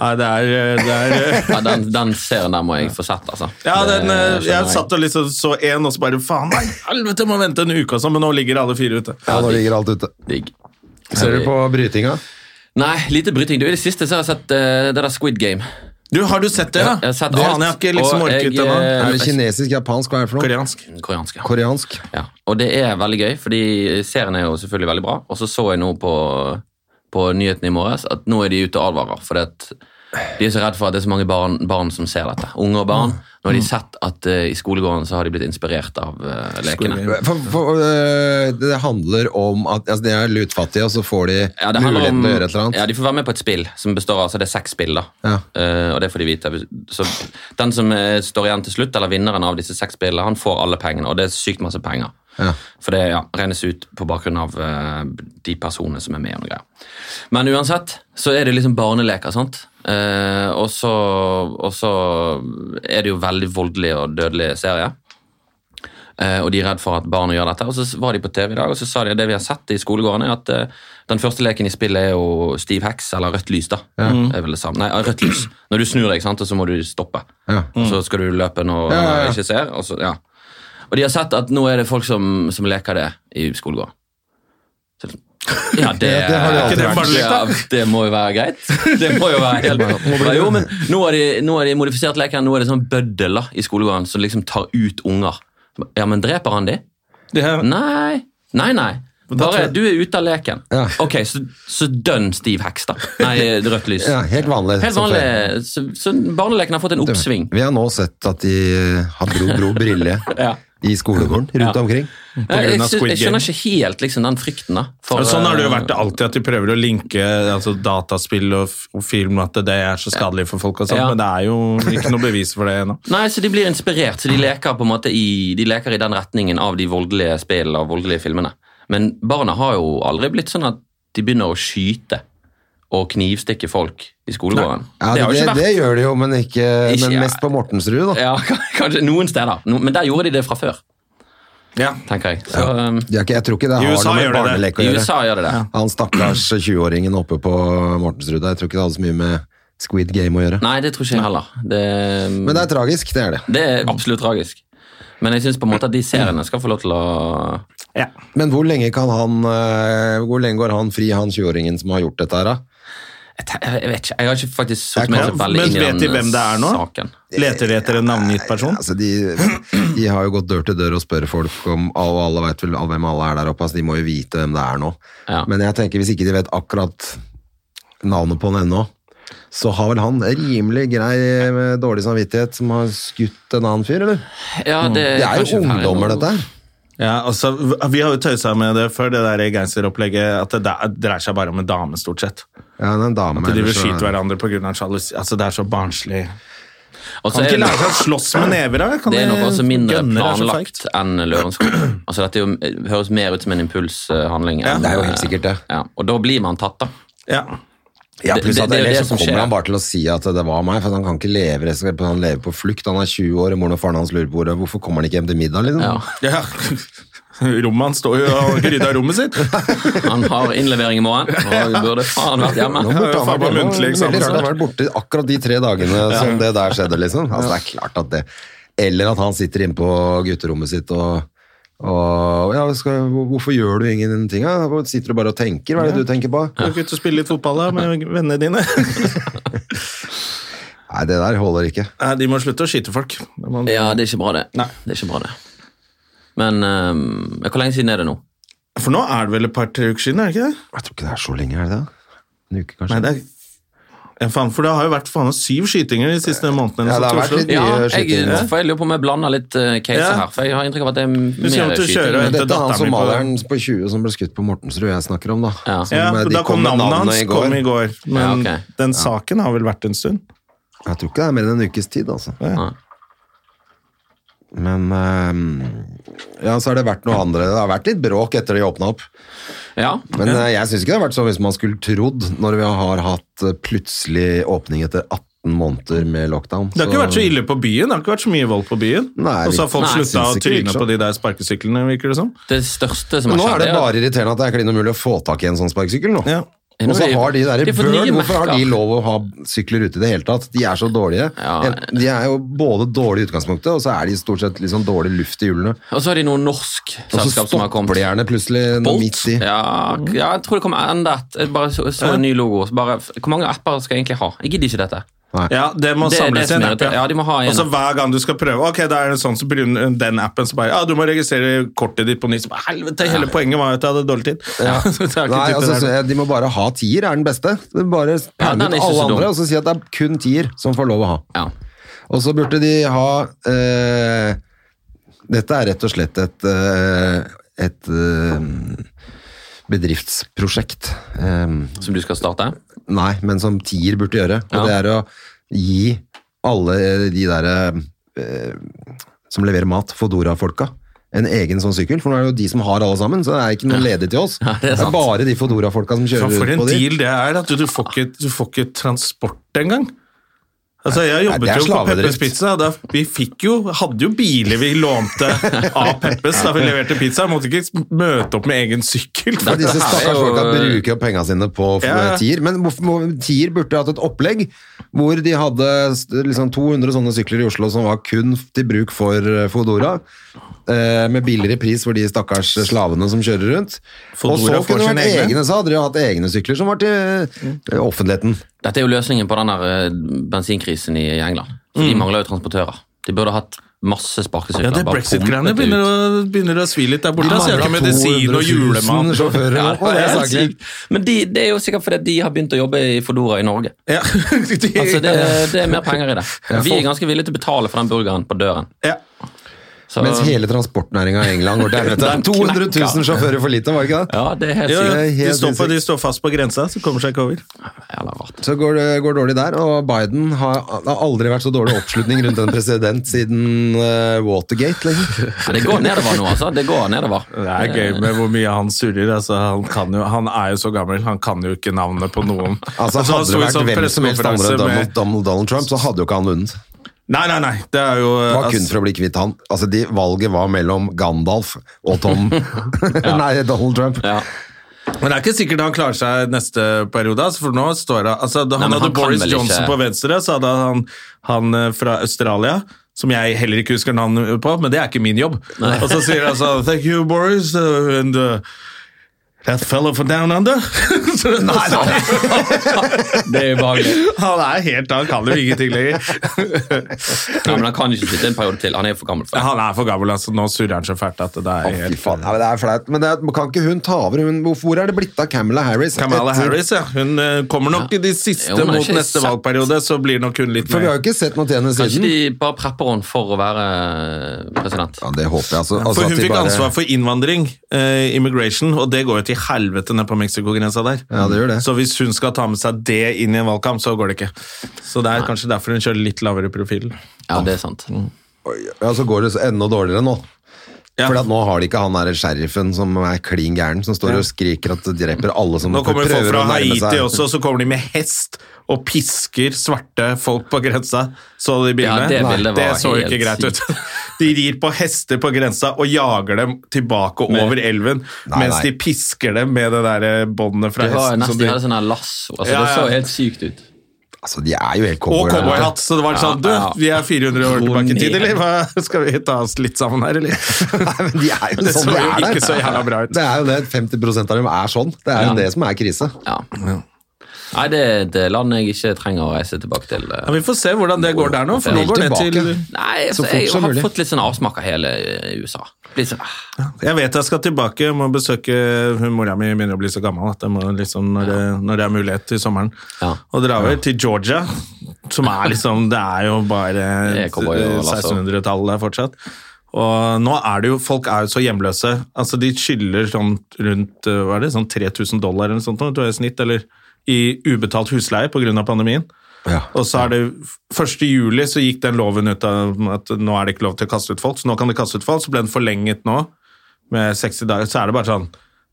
Nei, det er, det er
Ja, den, den serien der må jeg få sett, altså.
Ja, den, eh,
skjønner
jeg satt og liksom så en, og så bare faen, nei, helvete, må vente en uke og sånn, men nå ligger alle fire ute.
Ja, nå ligger alt ute.
Digg.
Ser du på brytinga?
Nei, lite bryting. Du, I det siste så har jeg sett eh, det der Squid Game.
Du, har du sett det, da?
Jeg har sett
det
alt,
aner jeg ikke liksom
og
orket
jeg,
ut ennå.
eh,
Er det kinesisk, japansk, hva er det for noe?
Koreansk.
Koreansk, ja.
Koreansk.
Ja, og det er veldig gøy, fordi serien er jo selvfølgelig veldig bra. Og så så jeg nå på, på nyheten i morges at nå er de ute og advarer. For de er så redd for at det er så mange barn, barn som ser dette. Unge og barn.
Mm.
Nå har de sett at eh, i skolegården så har de blitt inspirert av eh, lekene.
For, for, øh, det handler om at altså, de er lutfattige, og så får de
Ja, det handler
muligheten
om,
til å gjøre et eller annet.
ja, De får være med på et spill som består av altså det er seks spill. da.
Ja.
Eh, og det får de vite. Så Den som eh, står igjen til slutt, eller vinneren av disse seks spillene, han får alle pengene. Og det er sykt masse penger.
Ja.
For det ja, regnes ut på bakgrunn av eh, de personene som er med. og noe greier. Men uansett så er det liksom barneleker, sant. Eh, og, så, og så er det jo veldig voldelig og dødelig serie. Eh, og de er redd for at barna gjør dette. Og så var de på TV i dag, og så sa de at det vi har sett i skolegården, er at eh, den første leken i spillet er jo stiv heks, eller rødt lys, da. Mm.
Mm.
Er vel det samme. Nei, rødt lys. Når du snur deg, sant, og så må du stoppe.
Ja.
Og Så skal du løpe når
Ja, ja, ja.
du ikke ser, og så, ja. Og de har sett at nå er det folk som, som leker det i skolegården. Så, liksom, ja, det,
Ja, det har det alltid
vært.
Ja, det må jo være greit. Det må jo være helt ja, Jo, men nå har de, nå har de modifisert leken. Nå er det sånn bøddel da, i skolegården som liksom tar ut unger. Ja, men dreper han de?
Det er-
Nei. Nei, nei. Bare du er ute av leken.
Ja.
Ok, så, så dønn stiv heks, da. Nei, rødt lys.
Ja, helt vanlig.
Helt
som før.
vanlig. Så, så barneleken har fått en oppsving.
Vi har nå sett at de eh, har bro, bro brille
Ja.
i skolegården rundt omkring.
Jeg,
grunn
jeg,
av
sy-
Squid
jeg skjønner ikke helt liksom, den frykten. da. For,
Og sånn har det jo
eh,
vært alltid, at de prøver å linke altså, dataspill og, f- og film, at det er så skadelig for folk og sånn,
Ja.
men det er jo ikke noe bevis for det ennå.
Nei, så De blir inspirert, så de leker på en måte i, de leker i den retningen av de voldelige spillene og voldelige filmene. Men barna har jo aldri blitt sånn at de begynner å skyte og knivstikke folk i skolegården.
Ja,
det har jo
det,
ikke vært.
det gjør de jo, men, ikke,
Ikke-
men mest på Mortensrud. Da.
Ja, kanskje noen steder. No, men der gjorde de det fra før,
Ja.
tenker jeg. Så, um,
De har ikke, jeg tror ikke det
I
har
USA
noe med
gjør de det.
barnelek å
I
gjøre.
USA gjør de det.
Han stakkars 20-åringen oppe på Mortensrud der, jeg tror ikke det hadde så mye med Squid Game å gjøre.
Nei, det tror ikke jeg heller. Det, um,
Men det er tragisk, det er det.
det er absolutt tragisk. Men jeg syns på en måte at de seriene skal få lov til å
Ja.
Men hvor lenge kan han eh, Hvor lenge går han fri, han 20-åringen som har gjort dette her, da?
Jeg, te- jeg vet ikke, jeg har ikke faktisk
Jeg
satt meg så
kan-
veldig
Men
inn i
vet
den
de hvem det er nå?
saken.
Leter de etter en navngitt person?
Altså, de, de har jo gått dør til dør og spør folk om Og alle vet vel hvem alle er der oppe, altså de må jo vite hvem det er nå.
Ja.
Men jeg tenker hvis ikke de vet akkurat navnet på han ennå, så har vel han rimelig grei med dårlig samvittighet som har skutt en annen fyr, eller?
Ja, det,
Eh,
Det er
kanskje
jo
ferdig nå.
ungdommer, dette her.
Ja, altså, Vi har jo tøysa med det før, det der gangsteropplegget, at det da- dreier seg bare om en dame, stort sett.
Ja, det er en dame.
De vil
ellers så-
skyte hverandre pga. sjalusi. Altså, det er så barnslig.
Og så
Kan
er
ikke
det-
lære seg å slåss med never, da? Kan
Det er nok
de-
også mindre
gønner er så
planlagt
feigt.
enn Lørenskog. Altså, dette er jo, høres mer ut som en impulshandling. enn-
Det er jo helt sikkert det.
Ja, og da blir man tatt, da.
Ja.
Ja,
Det-
pluss
det-
at
det er jo
ellers
det
så
som
kommer
skjer.
han bare til å si at det var meg, for han kan ikke leve resten av livet, han lever på flukt, han er 20 år, og moren og faren hans lurer på hvor- hvorfor kommer han ikke hjem til middag, liksom?
Ja.
ja. Rommet hans står jo og rydder rommet sitt.
Han har innlevering i morgen, og burde faen vært
Nå
hjemme.
burde han
faen
vært
meg
hjemme,
muntlig
det er veldig
eksamen
rart han har vært borte akkurat de tre dagene som det der skjedde, liksom. Altså, det er klart at det, eller at han sitter inne på gutterommet sitt og, og ja, skal, hvorfor gjør du ingenting? Ja? Hvorfor Sitter du bare og tenker, hva er det du tenker på?
Kan ikke ut og spille litt fotball da, med vennene dine?
Nei, det der holder ikke.
Nei, de må slutte å skyte folk. Det må-
Ja, det er ikke bra, det.
Nei.
Det er ikke bra, det. Men ehm, hvor lenge siden er det nå?
For nå er det vel et par-tre uker siden, er det ikke det?
Jeg tror ikke det er så lenge, er det det? En uke, kanskje?
Nei, det er... Ja, faen, for det har jo vært faen, meg syv skytinger de siste månedene.
Ja, det har
i
vært
Oslo.
litt-
Ja,
Mye
jeg,
skyting, ja.
for jeg lurer på om jeg blander litt eh, caser
Ja.
her, for jeg har inntrykk av at det er
skal
mer
til å kjøre.
skyting.
Men dette er han
datteren min på-
somalieren på 20 som ble skutt på Mortensrud jeg snakker om, da.
Ja.
Som,
Ja,
eh,
for
de
da kom
med
navnet hans
navnet
kom i går, men
Ja, ok.
den saken har vel vært en stund.
Jeg tror ikke det er mer enn en ukes tid, altså.
Ja.
Men eh, ja, så har det vært noe andre. Det har vært litt bråk etter de åpna opp.
Ja.
Men eh, jeg syns ikke det har vært så mye som man skulle trodd, når vi har hatt eh, plutselig åpning etter 18 måneder med lockdown.
Det har ikke vært så ille på byen. Det har ikke vært så mye vold på byen.
Nei,
Og så har folk
nei,
slutta
synes
å
ikke det
tryne
virker
på de der sparkesyklene, virker det som.
Det største som
Men
har
nå er
skjedd,
det bare irriterende at det er klin umulig å få tak i en sånn sparkesykkel nå.
Ja.
Og så har de der
De har fått
Bird,
nye
hvorfor har de
merker.
lov å ha sykler ute i det hele tatt? De er så dårlige.
Ja.
En- De er jo både dårlige i utgangspunktet, og så er de stort sett litt sånn dårlig luft i hjulene.
Og så har de noe norsk
Og så
selskap som har
stopper
kommet.
de gjerne plutselig nå
Bolt?
midt i.
Ja,
Mm.
ja, jeg tror det kommer enda et. Jeg bare så, så en ny logo. Så bare, f- hvor mange apper skal jeg egentlig ha? Jeg gidder ikke dette.
Ja, det må
Det er det
samles i
som
en
er
app.
irriterende. Ja, de må ha en
Og så
app.
hver gang du skal prøve Ok, da er det sånn, så begynner den appen så bare Ja, du må registrere kortet ditt på nytt. Så bare, Helvete, hele poenget var jo at jeg hadde dårlig tid. Så det er ikke
Nei,
tid til
altså,
det.
så jeg- De må bare ha tier, er den beste. De Bare
den
pælme
er
ut
ikke
alle
så dum.
andre og så si at det er kun tier som får lov å ha.
Ja.
Og så burde de ha eh, Dette er rett og slett et, eh, et eh, bedriftsprosjekt. Eh,
Som du skal starte?
Nei, men som tier burde gjøre. Og
Ja.
det er å gi alle de der eh, som leverer mat, Fodora-folka, en egen sånn sykkel. For nå er det jo de som har alle sammen, så det er ikke noen ledig til oss.
det er sant.
bare de Fodora-folka som
Faen,
kjører
for
rundt
en
på de.
deal det er, at du, du, får ikke, du får ikke transport engang. Altså, jeg jobbet
det er
jo på
slavedrift.
Peppes Pizza. Da, vi fikk jo, hadde jo biler vi lånte av Peppes da vi leverte pizza. Måtte ikke møte opp med egen sykkel.
Og
For,
disse
Dette her er
stakkars
jo-
folka bruker jo penga sine på f-
Ja, ja.
tier. Men hvorfor må- tier burde hatt et opplegg hvor de hadde s- liksom 200 sånne sykler i Oslo som var kun f- til bruk for eh, Fodora. eh, Med billigere pris for de stakkars slavene som kjører rundt. Og
Fodora får
så kunne det
sine
vært
egne.
egne. så hadde de jo hatt egne sykler som var til eh, offentligheten.
Dette er jo løsningen på den der eh, bensinkrisen i England. For
Mm.
De mangler jo transportører. De burde hatt masse sparkesykler.
ja, det
bare
brexit-greiene
pumpet
begynner,
ut.
å- begynner å svi litt der borte. Så jeg har ikke medisin og
200 000
julemat.
sjåfører
Ja,
nå, og det er
helt
saklig.
sykt. Men de, det er jo sikkert fordi at de har begynt å jobbe i Fodora i Norge.
Ja. de-
Altså, det, det er mer penger i det. Vi er ganske villige til å betale for den burgeren på døren.
ja.
Så,
Mens hele transportnæringa i England går til helvete.
Den
200 000
knekka.
sjåfører for lite, var det ikke det?
ja, det er helt
Ja,
sykt.
ja, de,
helt
står på,
sinnssykt.
de står fast på grensa, så kommer seg ikke over.
Jævla rart.
Så går det går dårlig der, og Biden har, det har aldri vært så dårlig oppslutning rundt en president siden eh, Watergate. Liksom.
Ja, det går nedover nå, altså. Det går nedover.
Det er gøy med hvor mye han surrer. Altså, han, kan jo, han er jo så gammel, han kan jo ikke navnet på noen. Altså,
Altså,
han
hadde
sto
det
i
vært
sånn
hvem som helst andre
pressekonferanse
enn
med-
Donald, Donald, Donald Trump, så hadde jo ikke han vunnet.
Nei, nei, nei. Det er jo
Det var
altså,
kun for å bli kvitt han. Altså, de, valget var mellom Gandalf og Tom Nei, Donald Trump.
Ja.
Men det er ikke sikkert han klarer seg neste periode, altså, for nå står det altså, Da han
men
hadde
han kan
Boris
vel
Johnson
ikke-
på venstre, så hadde han han eh, fra Australia, som jeg heller ikke husker navnet på, men det er ikke min jobb. Og så sier han sånn Thank you, Boris. uh, and... Uh, That fellow from down under? Så-
Det er ubehagelig.
han er helt Han kan jo ingenting lenger.
Ja, men han kan ikke sitte en periode til. Han er for gammel for det.
Han er for gammel, altså. Nå surrer han så fælt at det er
Fy
helt
faen, ja, men det er flaut. Men det er, kan ikke hun ta over? Hun, hvor- hvor er det blitt av Camilla Harris?
Kamala
Etter-
Harris, ja. Hun eh, kommer nok i de siste
Jo, men det er
mot
ikke
neste
sant.
valgperiode, så blir nok hun litt
For vi
mer
har jo ikke sett noe til henne
Kanskje
siden.
de bare prepper henne for å være eh, president.
Ja, det håper jeg. Altså, altså
For
at
hun
de
fikk
bare-
ansvar for innvandring, eh, immigration, og det går jo til helvete ned på Mexicogrensa der.
Ja, det gjør det.
Så hvis hun skal ta med seg det inn i en valgkamp, så går det ikke. Så det er kanskje derfor hun kjører litt lavere profil.
Ja, det er sant.
Ja, så går det så enda dårligere nå.
Ja.
For nå har de ikke han der sheriffen som er klin gæren, som står og skriker at de dreper alle som
Nå kommer det folk
prøver
fra
å nærme
Haiti
seg.
også, så kommer de med hest og pisker svarte folk på grensa. Så du de bildene?
Ja, det bildet var
så jo
helt
ikke greit ut.
sykt.
De rir på hester på grensa og jager dem tilbake og over elven,
Nei,
mens
nei.
de pisker dem med det der eh, båndet fra
Det var
hesten. som
nesten
de-
de hadde sånn her lasso. Altså,
Ja,
Det
ja.
så helt sykt ut.
Altså, de er jo helt
Og
cowboyer.
cowboyhatt, så det var litt sånn Du,
Ja, ja.
vi er 400 år
Ro
tilbake i tid,
ned.
eller? Hva, skal vi ta oss litt sammen her, eller?
Nei, men de er jo
Det
sånn
så
de
jo
er der.
ikke så jævla bra ut.
Det er jo det, 50 av dem er sånn. Det er jo
Ja.
det som er krise.
Ja. Nei, det er et land jeg ikke trenger å reise tilbake til. eh.
Ja, vi får se hvordan det går der nå, for nå
Helt
går det til
tilbake.
Nei,
Så
altså,
fort
jeg
som
har
mulig.
fått litt sånn avsmak av hele eh, USA. Litt sånn, ah.
Jeg vet jeg skal tilbake, jeg må besøke hun Mora mi begynner å bli så gammel at jeg må liksom, når, det, når det er mulighet til sommeren.
Ja.
Og dra over til Georgia, som er liksom Det er jo bare
Det er cowboy og lasso.
1600-tallet der fortsatt. Og nå er det jo Folk er jo så hjemløse. Altså, de skylder sånn rundt eh, hva er det, sånn 3000 dollar eller noe sånt nå, tror jeg, i snitt, eller i ubetalt husleie pga. pandemien.
Ja.
Og så er det 1. juli så gikk den loven ut av at nå er det ikke lov til å kaste ut folk, så nå kan de kaste ut folk, så ble den forlenget nå med 60 dager. Så er det bare sånn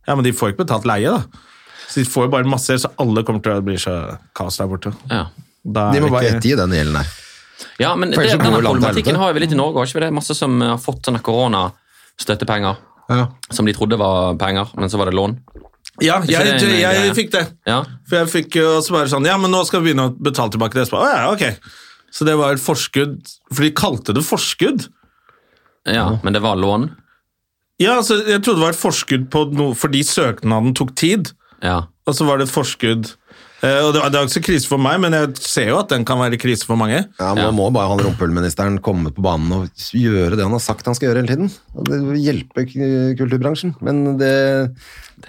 Ja, men de får ikke betalt leie, da. Så de får jo bare masse, så alle kommer til å bli så kaos der borte.
ja.
Da
De
er
må
det
bare
ikke-
ettergi den gjelden der.
ja, men
For
det,
ellers så går jo landet til
denne
helvete.
problematikken har vi litt i Norge, har ikke vi det? Masse som eh, har fått sånne koronastøttepenger.
Ja.
Som de trodde var penger, men så var det lån.
Ja, jeg,
det en
jeg,
greie?
fikk det.
Ja.
For jeg fikk jo også bare sånn Ja, men nå skal vi begynne å betale tilbake det. Så bare, Å, ja, ok. Så det var et forskudd For de kalte det forskudd.
Ja, Men det var lån.
Ja, altså, jeg trodde det var et forskudd på noe fordi søknaden tok tid.
Ja.
Og så var det et forskudd. Eh, og det, var- det er jo ikke så krise for meg, men jeg ser jo at den kan være krise for mange.
Ja, Nå må bare han rumpehullministeren komme på banen og gjøre det han har sagt han skal gjøre hele tiden. Og Det vil hjelpe k- kulturbransjen, men det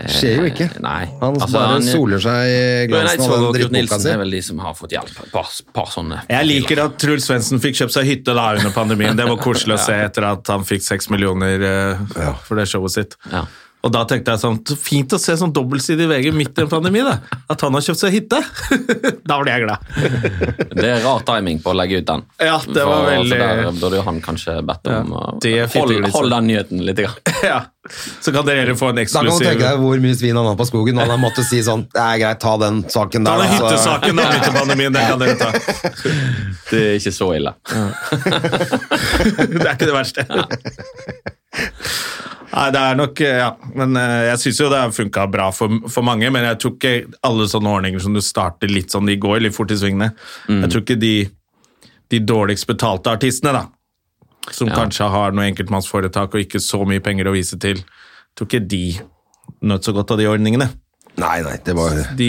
skjer jo ikke.
Nei.
Han
Altså,
bare
han-
soler seg i
Bjørn
glansen
Eidsvåg
av
og
den
Kurt
drittboka
Nilsen
si.
er vel de som har fått hjelp. Et par, par sånne.
Jeg liker at Truls Svendsen fikk kjøpt seg hytte da under pandemien. Det var koselig å se etter at han fikk seks millioner eh, for det showet sitt.
Ja.
Og da tenkte jeg sånn, så fint å se sånn dobbeltsidig VG midt i en pandemi, da. At han har kjøpt seg hytte. da ble jeg glad.
Det er rar timing på å legge ut den.
Ja, det var
For-
veldig-
altså, Der burde jo han kanskje bedt om å
det er fint å
hold,
glitse.
hold den nyheten litt. Grann.
ja. Så kan dere få en
Da kan du
eksklusiv
tenke deg hvor mye svin han har på skogen. og Han har måttet si sånn Det er greit, ta den saken
Ta
der.
den
altså." da, så-
hyttesaken da, midt i pandemien. Den kan dere ta.
Det er ikke så ille.
Det er ikke det verste. Nei, det er nok eh, Ja. Men eh, jeg syns jo det har funka bra for, for mange, men jeg tror ikke alle sånne ordninger som du starter litt sånn, de går litt fort i svingene.
Mm.
Jeg tror ikke de, de dårligst betalte artistene, da, som kanskje har noe enkeltmannsforetak og ikke så mye penger å vise til, jeg tror ikke de nøt så godt av de ordningene.
Nei, nei, det var
De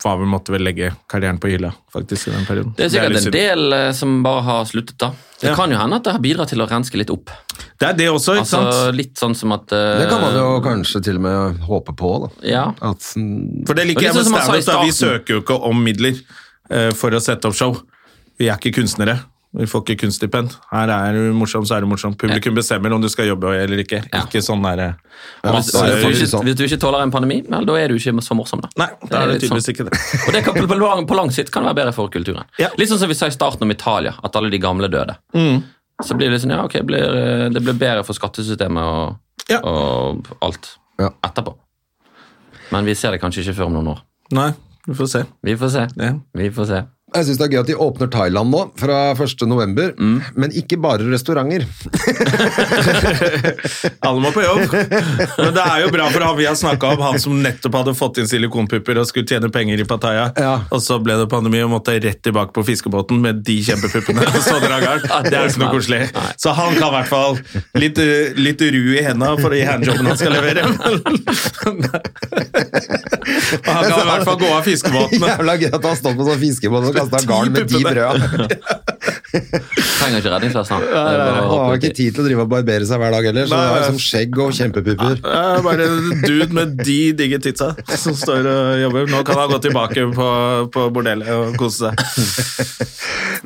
var vel, måtte vel legge karrieren på hylla, faktisk, i den perioden.
Det er sikkert
litt
en
synd.
del eh, som bare har sluttet, da. Det
Ja.
kan jo hende at det har bidratt til å renske litt opp.
Det er det også, ikke
Altså
sant?
Litt sånn som at eh,
Det kan man jo kanskje til og med håpe på, da.
Ja.
At mm,
For det liker
Og
jeg med
litt sånn som han sa i
standup. da. Vi
starten.
søker jo ikke om midler eh, for å sette opp show. Vi er ikke kunstnere. Vi får ikke kunststipend. Her er du morsom, så er du morsom. Publikum bestemmer om du skal jobbe eller ikke.
Ja.
Ikke sånn derre
Og Hvis,
Ja, det er
hvis, du
faktisk
ikke,
sånn.
hvis du ikke tåler en pandemi, vel, da er du ikke så morsom, da.
Nei, da er det
litt sånn.
tydeligvis ikke det.
Og det kan, på, lang, på lang sikt kan det være bedre for kulturen.
Ja. Mm.
Litt sånn som vi sa i starten om Italia, at alle de gamle døde. Så blir det litt sånn, ja, ok, blir, eh, det blir bedre for skattesystemet og,
Ja.
og alt
Ja.
etterpå. Men vi ser det kanskje ikke før om noen år.
Nei, vi får se.
Vi får se.
Ja.
Vi får se.
Jeg syns det er gøy at de åpner Thailand nå, fra 1. november.
Mm.
Men ikke bare restauranter.
Alle må på jobb. Men det er jo bra for han vi har snakka om, han som nettopp hadde fått inn silikonpupper og skulle tjene penger i Pattaya.
Ja.
Og så ble det pandemi og måtte rett tilbake på fiskebåten med de kjempepuppene. og så drar han. Det er jo ikke noe koselig. Så han kan i hvert fall litt, eh, litt ru i henda for de handjobbene han skal levere. Og han kan i hvert fall gå av fiskebåtene.
Jævla gøy at han stått på sånn fiskebåt og kasta garn med ti
puppene.
brød.
Trenger ikke redningsvest, han. Det er
Han
bare å hoppe
har
uti.
ikke tid til å drive og barbere seg hver dag heller, så
Nei,
det er
nei.
liksom skjegg og kjempepupper.
Det er bare en dude med de digge titsa som står og jobber. Nå kan han gå tilbake på, på bordellet og kose seg.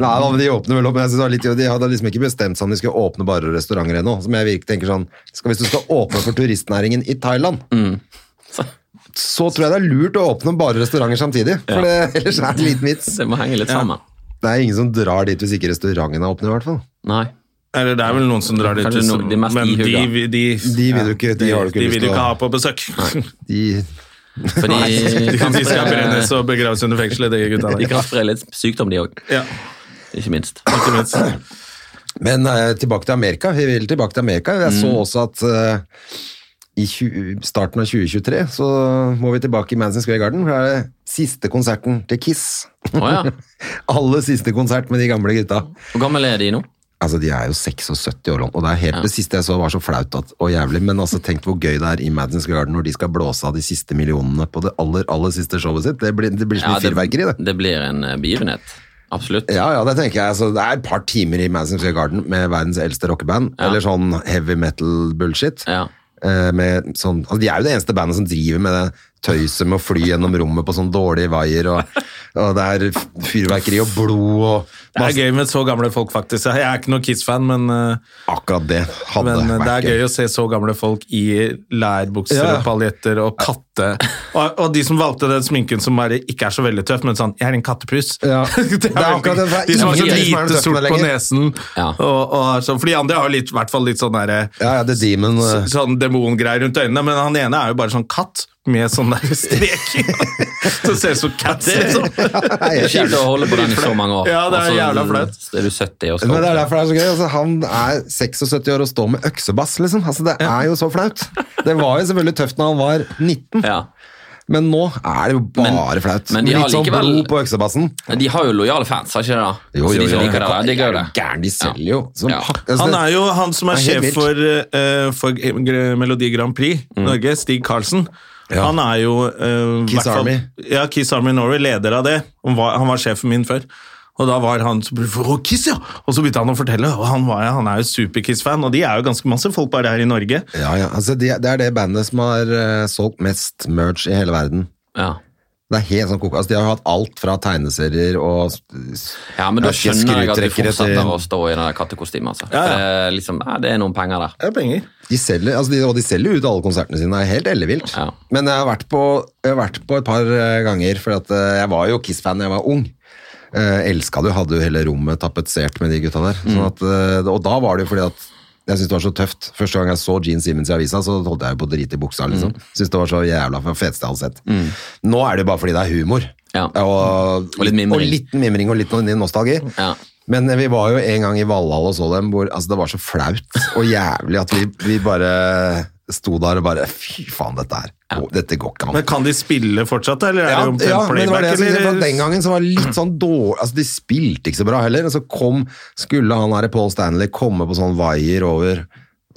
Nei, da, men De åpner vel opp, men jeg synes det var litt, de hadde liksom ikke bestemt seg om de skulle åpne bare restauranter ennå. Som jeg virker, tenker sånn, skal, Hvis du skal åpne for turistnæringen i Thailand,
Så-
så tror jeg det er lurt å åpne bare restauranter samtidig. For det, ellers er det liten vits.
Det må henge litt sammen.
Det er ingen som drar dit hvis ikke restauranten er åpne, i hvert fall.
Nei.
Eller det er vel noen som drar dit,
Kanskje
ut,
noen- de mest
men de,
ihuga.
de, de,
De vil du ikke, de har du ikke
vil
lyst
du
til
ikke
å
ha på besøk.
de,
Fordi
De,
kan
de skal
spre-
brennes og begraves under fengselet, de gutta
de
der.
kan spre litt sykdom, de òg.
Ja,
Ikke minst.
ikke minst.
Men eh, tilbake til Amerika. Vi vil tilbake til Amerika. Jeg så også at eh, i 20, starten av 2023 så må vi tilbake i Madison Square Garden. For det er det siste konserten til Kiss.
Å ja.
Aller siste konsert med de gamle gutta.
Hvor gammel er de nå?
Altså, De er jo 76 år, og det er helt det siste jeg så var så flaut at, og jævlig. Men altså, tenk hvor gøy det er i Madison Square Garden når de skal blåse av de siste millionene på det aller aller siste showet sitt. Det blir, det blir så mye fyrverkeri, det.
det blir en eh, begivenhet. Absolutt.
Ja, ja, det tenker jeg. Altså, det er et par timer i Madison Square Garden med verdens eldste rockeband. Eller sånn heavy metal-bullshit.
Ja.
Eh, med sånn, altså, de er jo det eneste bandet som driver med det tøyset med å fly gjennom rommet på sånn dårlige vaier. Og, og det er f- fyrverkeri og blod og
Det er gøy med så gamle folk, faktisk. Jeg er ikke noen Kiss-fan, men, eh,
Akkurat det hadde
men eh, det
vært
er gøy å se så gamle folk i lærbukser
Ja.
og paljetter og katte... Og, og de som valgte den sminken som bare ikke er så veldig tøff, men sånn 'Jeg er en kattepus'.
Ja.
Det er
Det er
veldig-
akkurat det, for det er
de som har så
ingen som er den
lite
tøffen
sort på
lenger.
nesen.
Ja.
Og, og, er sånn- for de andre har jo litt, i hvert fall litt sånn derre
Ja, ja, The Demon. eh,
så- sånn demongreier rundt øynene, men han ene er jo bare sånn katt med sånn der strek. Så ser det ut som cats, liksom.
er
Det er
helt
kjipt
jævlig.
å holde på den i så mange år.
Ja, det er
Og så
jævla flaut.
Er du 70 og skal
Men det er
opp.
derfor det er så gøy. Altså, han er 76 år og står med øksebass, liksom. Altså, det er jo så flaut. Det var jo selvfølgelig tøft når han var 19,
Ja.
men nå er det jo bare flaut.
men de har
Litt sånn
likevel-
blod på øksebassen.
Men De har jo lojale fans, har ikke det? da?
Jo,
så
jo,
de som
jo.
liker det, de digger jo det.
Gæren, de selger jo. som
Ja.
pakke. Altså,
Han
det-
er jo han som er
Det er helt
sjef
vilt. Mm.
for, eh, for Gr- Melodi Grand Prix Norge, Stig Karlsen.
Ja.
Han er jo eh, hvert
Kiss
fall-
Army.
Ja, Kiss Army Norway, leder av det. Han var, han var sjefen min før. Og da var han så, Å, Kiss, ja! Og så begynte han å fortelle. Og han, var, han er jo super-Kiss-fan, og de er jo ganske masse folk bare her i Norge.
Ja, ja. Altså, de, det er det bandet som har eh, solgt mest merch i hele verden.
Ja.
Det er helt sånn koko. Altså, de har jo hatt alt fra tegneserier og
ja, men da
Jeg husker
skjønner jeg at de
skrutrekkere
fortsetter
til-
å stå i det der kattekostymet. Altså.
Ja, ja.
Det, er liksom, ja, det er noen penger der.
Det er penger.
De selger, altså de, og de selger ut alle konsertene sine, det er helt ellevilt.
Ja.
Men jeg har, vært på, jeg har vært på et par eh, ganger, for at, eh, jeg var jo Kiss-fan da jeg var ung. Eh, elska det, jo, hadde jo hele rommet tapetsert med de gutta der.
Mm.
Sånn at, eh, og da var det jo fordi at jeg syntes det var så tøft. Første gang jeg så Gene Simmons i avisa, så holdt jeg jo på å drite i buksa. liksom.
Mm.
Syntes det var så jævla for feteste jeg hadde sett. Nå er det jo bare fordi det er humor.
Ja.
Og,
Og litt mimring.
og litt mimring og litt nostalgi.
Ja.
Men eh, vi var jo en gang i Valhall og så dem, hvor altså, det var så flaut og jævlig at vi, vi bare sto der og bare Fy faen, dette her. å, Dette går ikke an.
Men kan de spille fortsatt, eller er
Ja,
det omtrent
ja, men det var det
playback?
jeg skulle si, for
eller?
at Den gangen så var det litt sånn dårlig altså, De spilte ikke så bra heller. Og så kom, skulle han her Paul Stanley komme på sånn vaier over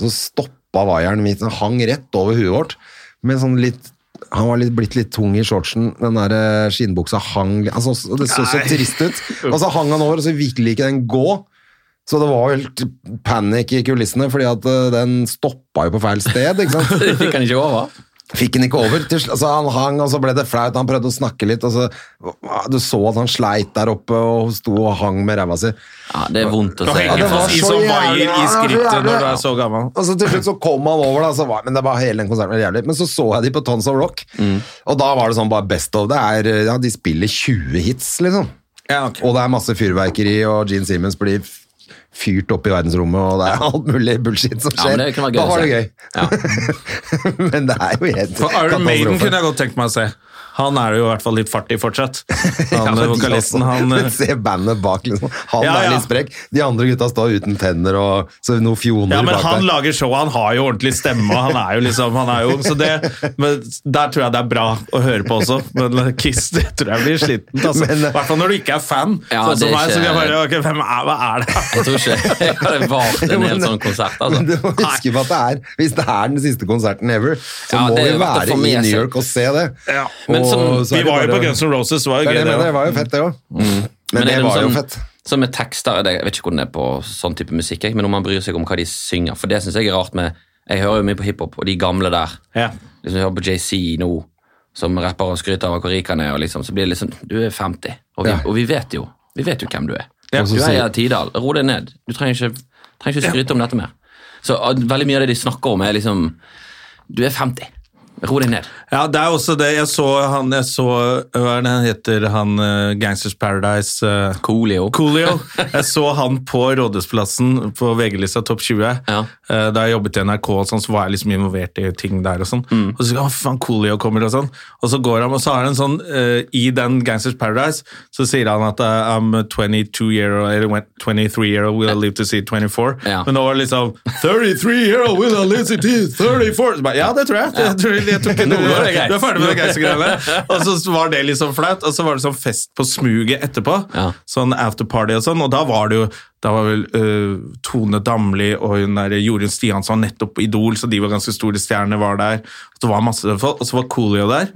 Så stoppa vaieren mitt, den sånn hang rett over huet vårt. Med sånn litt han var litt, blitt litt tung i shortsen. Den der eh, skinnbuksa hang altså, så- Det så så
Nei.
trist ut. Og så hang han over, og så ville ikke den gå. Så det var jo helt panikk i kulissene, fordi at eh, den stoppa jo på feil sted. ikke sant?
Det fikk han ikke over.
Fikk han ikke over. Til, sl- altså, han hang, og så ble det flaut. Han prøvde å snakke litt, og så Du så at han sleit der oppe og sto og hang med ræva si.
Ja, det er vondt å
Å
se.
henge
det var
fast i
så
sånn
jævlig,
vaier
ja, det
i
var så jævlig.
skrittet når du er så gammel.
Og så til slutt så kom han over, da, så var, men det var hele den konserten var jævlig. Men så så jeg de på Tons of Rock,
Mm.
og da var det sånn bare best of. Det er, ja, de spiller 20 hits, liksom. Og det er masse fyrverkeri, og Gene Simmons blir f- fyrt opp i verdensrommet, og det er alt mulig bullshit som
Ja, men
skjer.
det kunne vært gøy
da
å
var det
se.
gøy. men det er jo helt
For Iron Maiden
katastrofe.
kunne jeg godt tenkt meg å se. Han er det jo i hvert fall litt fart i fortsatt. Han eh,
men de
vokalisten,
også-
han eh,
men Se bandet bak, liksom. Han
Ja,
er
ja.
litt sprek. De andre gutta står uten tenner og så noen fjoner
Ja, men
bak
han
der.
lager show, han har jo ordentlig stemme, og han er jo liksom han er jo, så det, men Der tror jeg det er bra å høre på også, men eh, Kiss det tror jeg blir slitent. Altså.
Men, eh,
I hvert fall når du ikke er fan.
Ja,
sånn
det
som meg,
er
så
ikke-
kan jeg bare ok, hvem er, Hva er det her?
Jeg tror ikke jeg hadde vart en hel sånn konsert. altså.
Men du må huske på at det er, hvis det er den siste konserten ever, så
Ja,
må
det
vi
er verdt å
være
få
i
med
New
seg.
York og se det.
Ja.
altså. Men
Og
sånn,
så er
Vi
det
var jo
bare-
på Guns N' Roses, det var
Det
jo
er det
gøy,
jeg
det
mener, det
også.
var jo fett, det òg. Men,
Mm. er
det var jo
sånn-
fett.
Som med tekster, det- jeg vet ikke hvordan det er på sånn type musikk, jeg, men om man bryr seg om hva de synger. For det syns jeg er rart med Jeg hører jo mye på hiphop, og de gamle der.
Ja.
Liksom, jeg hører på JC nå, som rapper og skryter av hvor rik han er, og liksom, så blir det liksom Du er 50, og vi,
Ja.
og vi vet jo vi vet jo hvem du er.
Ja.
Du eier Tidal. Ro deg ned. Du trenger ikke, trenger ikke skryte om dette mer. Så ah, veldig mye av det de snakker om, er liksom Du er 50. Ro deg ned.
Ja, det er også det. Jeg så han jeg så, Hva er det han heter? Han eh, Gangsters Paradise eh,
Coolio.
Coolio. Jeg så han på Rådhusplassen på VG-lista Topp 20.
Ja.
Eh, Da jeg jobbet i NRK, og sånn, så var jeg liksom involvert i ting der. Og sånn.
Mm.
Og så «Å, faen, Coolio kommer og sånn. Og så går han, og så har han en sånn eh, I den Gangsters Paradise så sier han at eh, I'm a 22 year old, eller 23 year old, will I live to see 24?
Ja.
Men nå var det liksom 33 year old, will I live to see 34? Så bare, ja, det tror jeg. Jeg tror, jeg tror ikke du,
Nå er det greit.
du er ferdig med det gangstergreiene. Og så var det liksom flaut, og så var det sånn fest på smuget etterpå.
Ja.
Sånn afterparty og sånn, og da var det jo da var vel øh, Tone Damli og hun der Jorunn Stiansson nettopp på Idol, så de var ganske store stjerner, var der. Og det var masse folk, og så var Coolio der.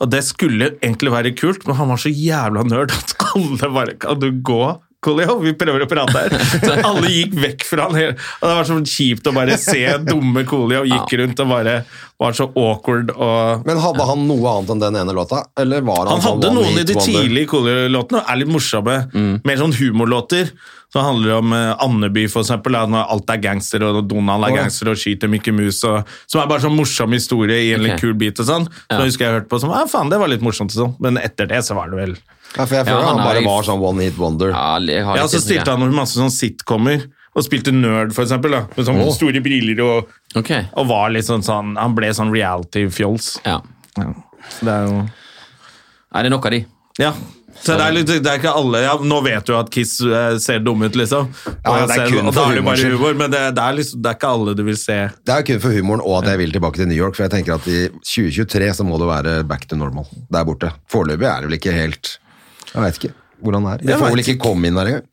Og det skulle egentlig være kult, men han var så jævla nerd at alle bare Kan du gå? Coolio, vi prøver å prate her. Så alle gikk vekk fra han. hele- Og det var så kjipt å bare se dumme Coolio gikk rundt og bare var så awkward og
Men hadde han noe annet enn den ene låta? Eller var han,
han
sånn
hadde
one
noen i
hit
de
wonder?
tidlige Coolio-låtene, og er litt morsomme. Mer sånn humorlåter. Som handler om eh, Andeby, for eksempel. da, Når alt er gangster, og Donald er
Å, ja.
gangster og skyter Mickey Mouse. Og, som er bare sånn morsom historie i en
Ok.
litt kul bit og sånn. Så
Ja.
jeg husker jeg hørte på sånn, ja faen, det var litt morsomt og sånn. Men etter det så var det vel
Ja, for jeg føler
Ja, han
han,
er
bare
i-
var sånn one hit wonder.
Ja, jeg har
Ja,
litt
så
inntrykk
stilte
av-
han over masse sånn sitcomer. Og spilte nerd, for eksempel. Da, med sånne store briller og,
Ok.
og var litt sånn sånn Han ble sånn reality-fjols.
Ja.
Ja. Så det er jo
Nei, det er nok av de.
Ja. Så det er, litt, det er ikke alle ja, Nå vet du at Kiss eh, ser dumme ut, liksom. Og,
Ja, det er
jeg ser,
kun
og da
for
er det
humorens
bare
skyld.
humor, men det, det, er liksom, det er ikke alle du vil se.
Det er jo kun for humoren og at jeg vil tilbake til New York, for jeg tenker at i 2023 så må det være back to normal der borte. Foreløpig er det vel ikke helt Jeg veit ikke hvordan det er.
Jeg
Jeg får
vet
vel ikke komme inn der engang.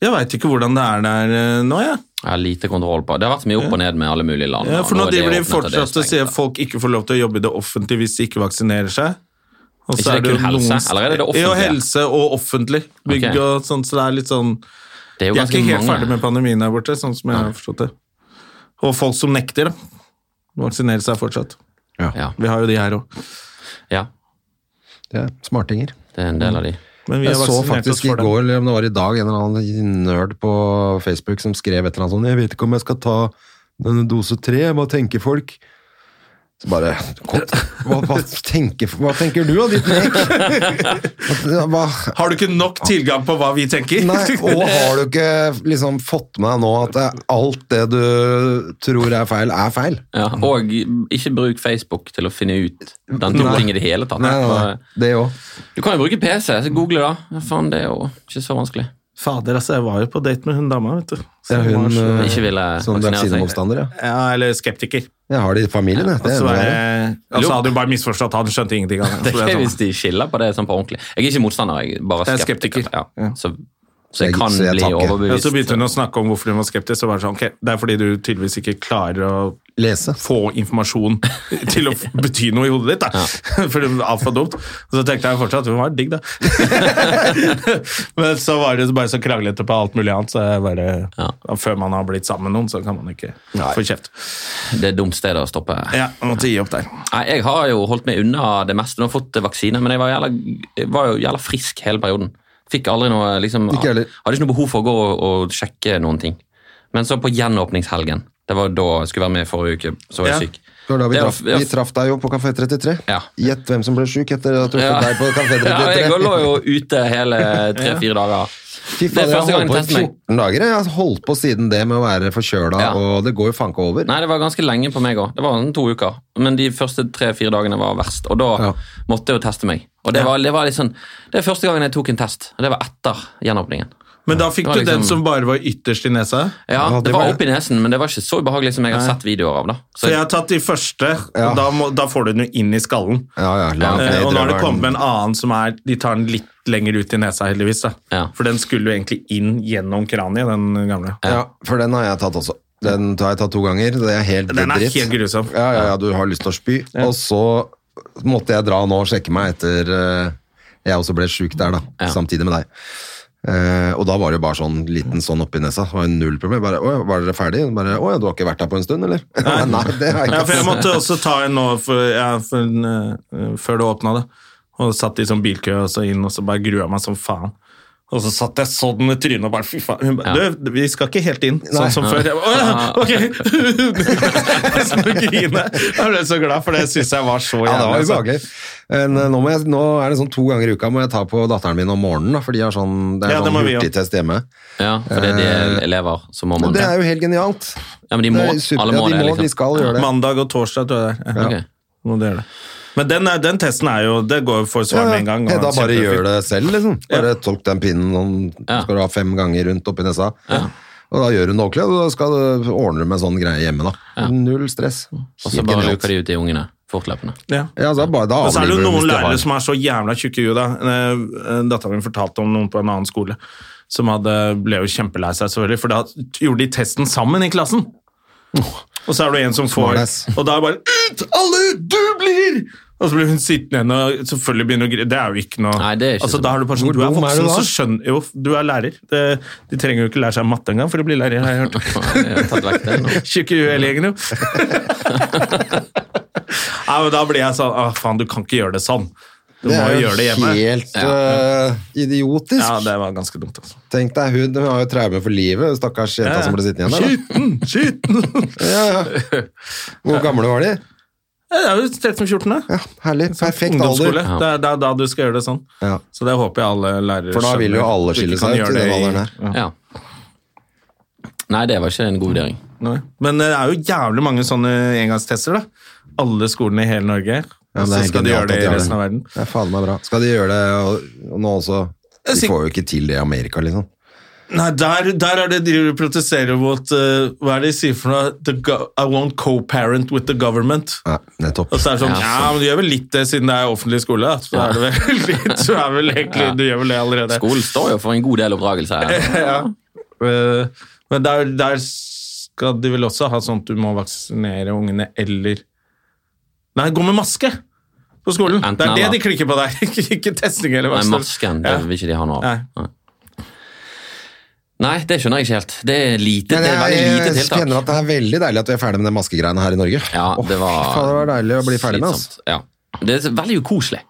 Jeg veit ikke hvordan det er der eh, nå, jeg.
Jeg har lite kontroll på. Det har vært så mye opp og ned med alle mulige land.
Ja,
og
for nå
er det
driver de
åpnet, og det er
fortsatt og
stengt,
sier
da.
at folk ikke får lov til å jobbe i det offentlige hvis de ikke vaksinerer seg. Og
Ikke det
jo
kun helse,
noen-
eller er det det offentlige?
Jo, helse og offentlig. Bygg
Ok.
og sånn, så det er litt sånn
Det er jo
De er
ganske
ikke helt
mange.
ferdig med pandemien der borte, sånn som jeg har forstått det. Og folk som nekter, da. Vaksinere seg fortsatt.
Ja,
Vi har jo de her òg.
ja,
Det er smartinger.
det er en del av de.
Men vi
Jeg
har
så
vaksinert oss
faktisk i
for det.
går, eller om det var i dag, en eller annen nerd på Facebook som skrev et eller annet sånn Jeg vet ikke om jeg skal ta denne dose tre, hva tenker folk? Så bare kom, hva, hva, tenker, hva tenker du da, ditt nek? Hva,
Har du ikke nok tilgang på hva vi tenker?
Nei, og har du ikke liksom fått med deg nå at det- alt det du tror er feil, er feil?
Ja, og ikke bruk Facebook til å finne ut den type
Nei.
ting i det hele tatt. eh,
Nei, nei, nei. Det òg.
Du kan jo bruke PC, så google da. Ja, faen, det er jo ikke så vanskelig.
Fader, altså, jeg var jo på date med hun dama, vet du. Så
Ja,
jeg var
hun
så-
eh,
Ikke ville
sånn
som
vaksinere seg.
vaksinemotstander, ja.
ja, eller skeptiker.
Jeg har det i familien, jeg.
Og
Det er
så
enda
var
verre.
jeg- og så hadde hun bare misforstått, han skjønte ingenting av det.
Det
Så
er
det er
hvis
sånn.
de skiller på det sånn på ordentlig. Jeg er ikke motstander, jeg er bare
Jeg er
skeptiker.
skeptiker.
Ja. Så, så jeg
Jeg-
kan
så jeg
bli
takker.
sånn. Og så begynte
overbevist.
hun å snakke om hvorfor hun var skeptisk, og var det sånn, ok, det er fordi du tydeligvis ikke klarer å
Lese.
få informasjon til å bety noe i hodet ditt, da. For det var altfor dumt. Og så tenkte jeg fortsatt, hun var digg, da. Men så var det bare så kranglete på alt mulig annet, så jeg bare,
Ja.
før man har blitt sammen med noen, så kan man ikke få kjeft.
Det er dumt sted å stoppe.
Ja, jeg måtte gi opp der.
Nei, jeg har jo holdt meg unna det meste. Nå har jeg fått vaksine, men jeg var, jævla, jeg var jo jævla frisk hele perioden. Fikk aldri noe liksom,
Ikke heller.
Hadde ikke noe behov for å gå og, og sjekke noen ting. Men så på gjenåpningshelgen, det var da jeg skulle være med i forrige uke, så var jeg
Ja.
syk.
Det var da vi
Det var-
traff, vi traff deg jo på Kafé 33.
Ja.
Gjett hvem som ble sjuk etter at du
Ja.
fikk deg på Kafé
Ja, jeg
33.
lå jo ute hele tre-fire dager.
Fy
Det
faen,
er
jeg
første
har
gangen
holdt på
jeg
i
tester meg.
14 dager. Jeg har holdt på siden det med å være forkjøla,
Ja.
og det går jo faen ikke over.
Nei, det var ganske lenge på meg òg. Det var sånn to uker. Men de første tre-fire dagene var verst, og da
Ja.
måtte jeg jo teste meg. Og det var, det var litt sånn Det er første gangen jeg tok en test, og det var etter gjenåpningen.
Men da fikk
Det
du
var
den
liksom-
som bare var ytterst i nesa.
Ja,
Ja, det
Det var
var-
oppi nesen, men det var ikke så ubehagelig som jeg har sett videoer av. da.
Så jeg har tatt de første,
Ja.
og da, må, da får du den jo inn i skallen.
Ja, ja, langt
Eh,
ned i
og nå har det
drøvelen.
kommet en annen som er De tar den litt lenger ut i nesa, heldigvis. da.
Ja.
For den skulle jo egentlig inn gjennom kraniet, den gamle.
Ja, for den har jeg tatt også. Den har jeg tatt to ganger. Det er helt
Den er
dritt.
helt grusom.
Ja, ja, ja, du har lyst til å spy. Og så måtte jeg dra nå og sjekke meg etter eh, Jeg også ble sjuk der, da.
Ja.
Samtidig med deg. Eh, og da var det jo bare sånn liten sånn oppi nesa. Det var jo null problem. Bare, «Å, var dere ferdig? Bare, Å ja, du har ikke vært der på en stund, eller? Nei, det har jeg
Ja,
ikke.
for jeg måtte også ta en nå for, ja, for, en, eh, før det åpna, det. Og satt i sånn bilkø og så inn, og så bare grua meg som faen. Og så satt jeg sånn i trynet og bare fy faen. Hun bare,
Ja.
du, vi skal ikke helt inn, sånn som før. Jeg bare, Å ja, ok! så grine. Jeg ble så glad, for det syns jeg var så
Ja, det var
jævlig. altså.
ubehagelig. Men, eh, Nå, må jeg, nå er det sånn to ganger i uka må jeg ta på datteren min om morgenen, da, for de har sånn, det er
Ja, det
sånn
må vi gjøre.
hurtigtest hjemme.
Ja, for det er de elever som må
Eh, Men
man
det er jo helt genialt.
Ja, men de
Det
må,
er super-
alle
ja,
må
de
det,
må,
liksom.
de skal gjøre det.
Mandag og torsdag, tror jeg det er. Ja,
Ok.
må du gjøre det. Men den, er- den testen er jo Det går jo for svar med en gang. og
Hedda bare
kjempefint.
gjør det selv, liksom. Bare tok den pinnen sånn,
Ja.
skal du ha fem ganger rundt oppi nesa. Og da gjør hun det ordentlig, og da skal du ordne med en sånn greie hjemme, da. Null stress.
Og så
Helt
bare
genialt.
luker de ut de ungene fortløpende.
Ja.
Ja, så er det bare, da
Men så er det jo
avliver hun
noen
hvis de har-
lærere som er så jævla tjukke i huet. da. Eh, Datteren min fortalte om noen på en annen skole som hadde, ble jo kjempelei seg, selvfølgelig, for da gjorde de testen sammen i klassen. Og så er det en som får
Smartass.
Og da er det bare Ut! Alle ut! Du blir! Og så blir hun sittende igjen og selvfølgelig begynner å grine. Det er jo ikke noe
Nei, det er ikke
altså,
så
Da er du bare sånn
Hvor
Du er
dum er
voksen,
du da?
så skjønner Jo, du er lærer. Det, de trenger jo ikke lære seg matte engang, for de blir lærere, har jeg hørt.
Ja, jeg har tatt vekk det nå.
Tjukke huet hele gjengen, jo. Nei, men da blir jeg sånn Å, faen, du kan ikke gjøre det sånn. Du må jo gjøre det hjemme.
helt øh, idiotisk.
Ja, det var ganske dumt, altså.
Tenk deg hun, hun har jo traume for livet, stakkars jenta som ble sittende igjen der.
Skitten!
da.
Skitten!
Ja, ja. Hvor gamle var de?
Det er jo 13-14, da.
Ja, herlig. Perfekt alder.
Sånn Ungdomsskole. Det er, det er da du skal gjøre det sånn.
Ja.
Så det håper jeg alle lærere
For da vil jo
skjønner.
alle
Du ikke
skille
kan
seg ut
gjøre
i
det
den alderen her.
Ja. Nei, det var ikke en god vurdering.
Nei. Men eh, det er jo jævlig mange sånne engangstester, da. Alle skolene i hele Norge.
Ja, men
og
det er
så skal de
genialt
gjøre det
at de
i
har
resten av verden.
Det er faen meg bra. Skal de gjøre det og, og nå også?
Jeg
De
sik-
får jo ikke til det i Amerika, liksom.
Nei, der, der er det de protesterer mot eh, Hva er det de sier for noe? The go I won't co-parent with the government.
Ja, nettopp.
Og så er det sånn, ja,
Ja,
men du gjør vel litt det siden det er offentlig skole, da. Så er det vel litt, så er vel egentlig, du gjør vel det allerede.
Skolen står jo for en god del oppdragelse. her.
Eh, men der, der skal de vel også ha sånn at du må vaksinere ungene eller Nei, gå med maske på skolen!
Enten
det er det
eller.
de klikker på der, ikke, ikke testing eller
Nei,
vaksine.
masken det
Ja.
vil ikke de ha noe
Nei.
av. Nei. Nei, det skjønner jeg ikke helt. Det er lite,
Men
det er
jeg,
veldig
jeg,
lite
kjenner
tiltak.
at det er veldig deilig at vi er ferdig med de maskegreiene her i Norge.
Ja,
Åh,
det var,
faen, det var deilig å bli ferdig med. Altså.
slitsomt. Ja. Det er veldig ukoselig.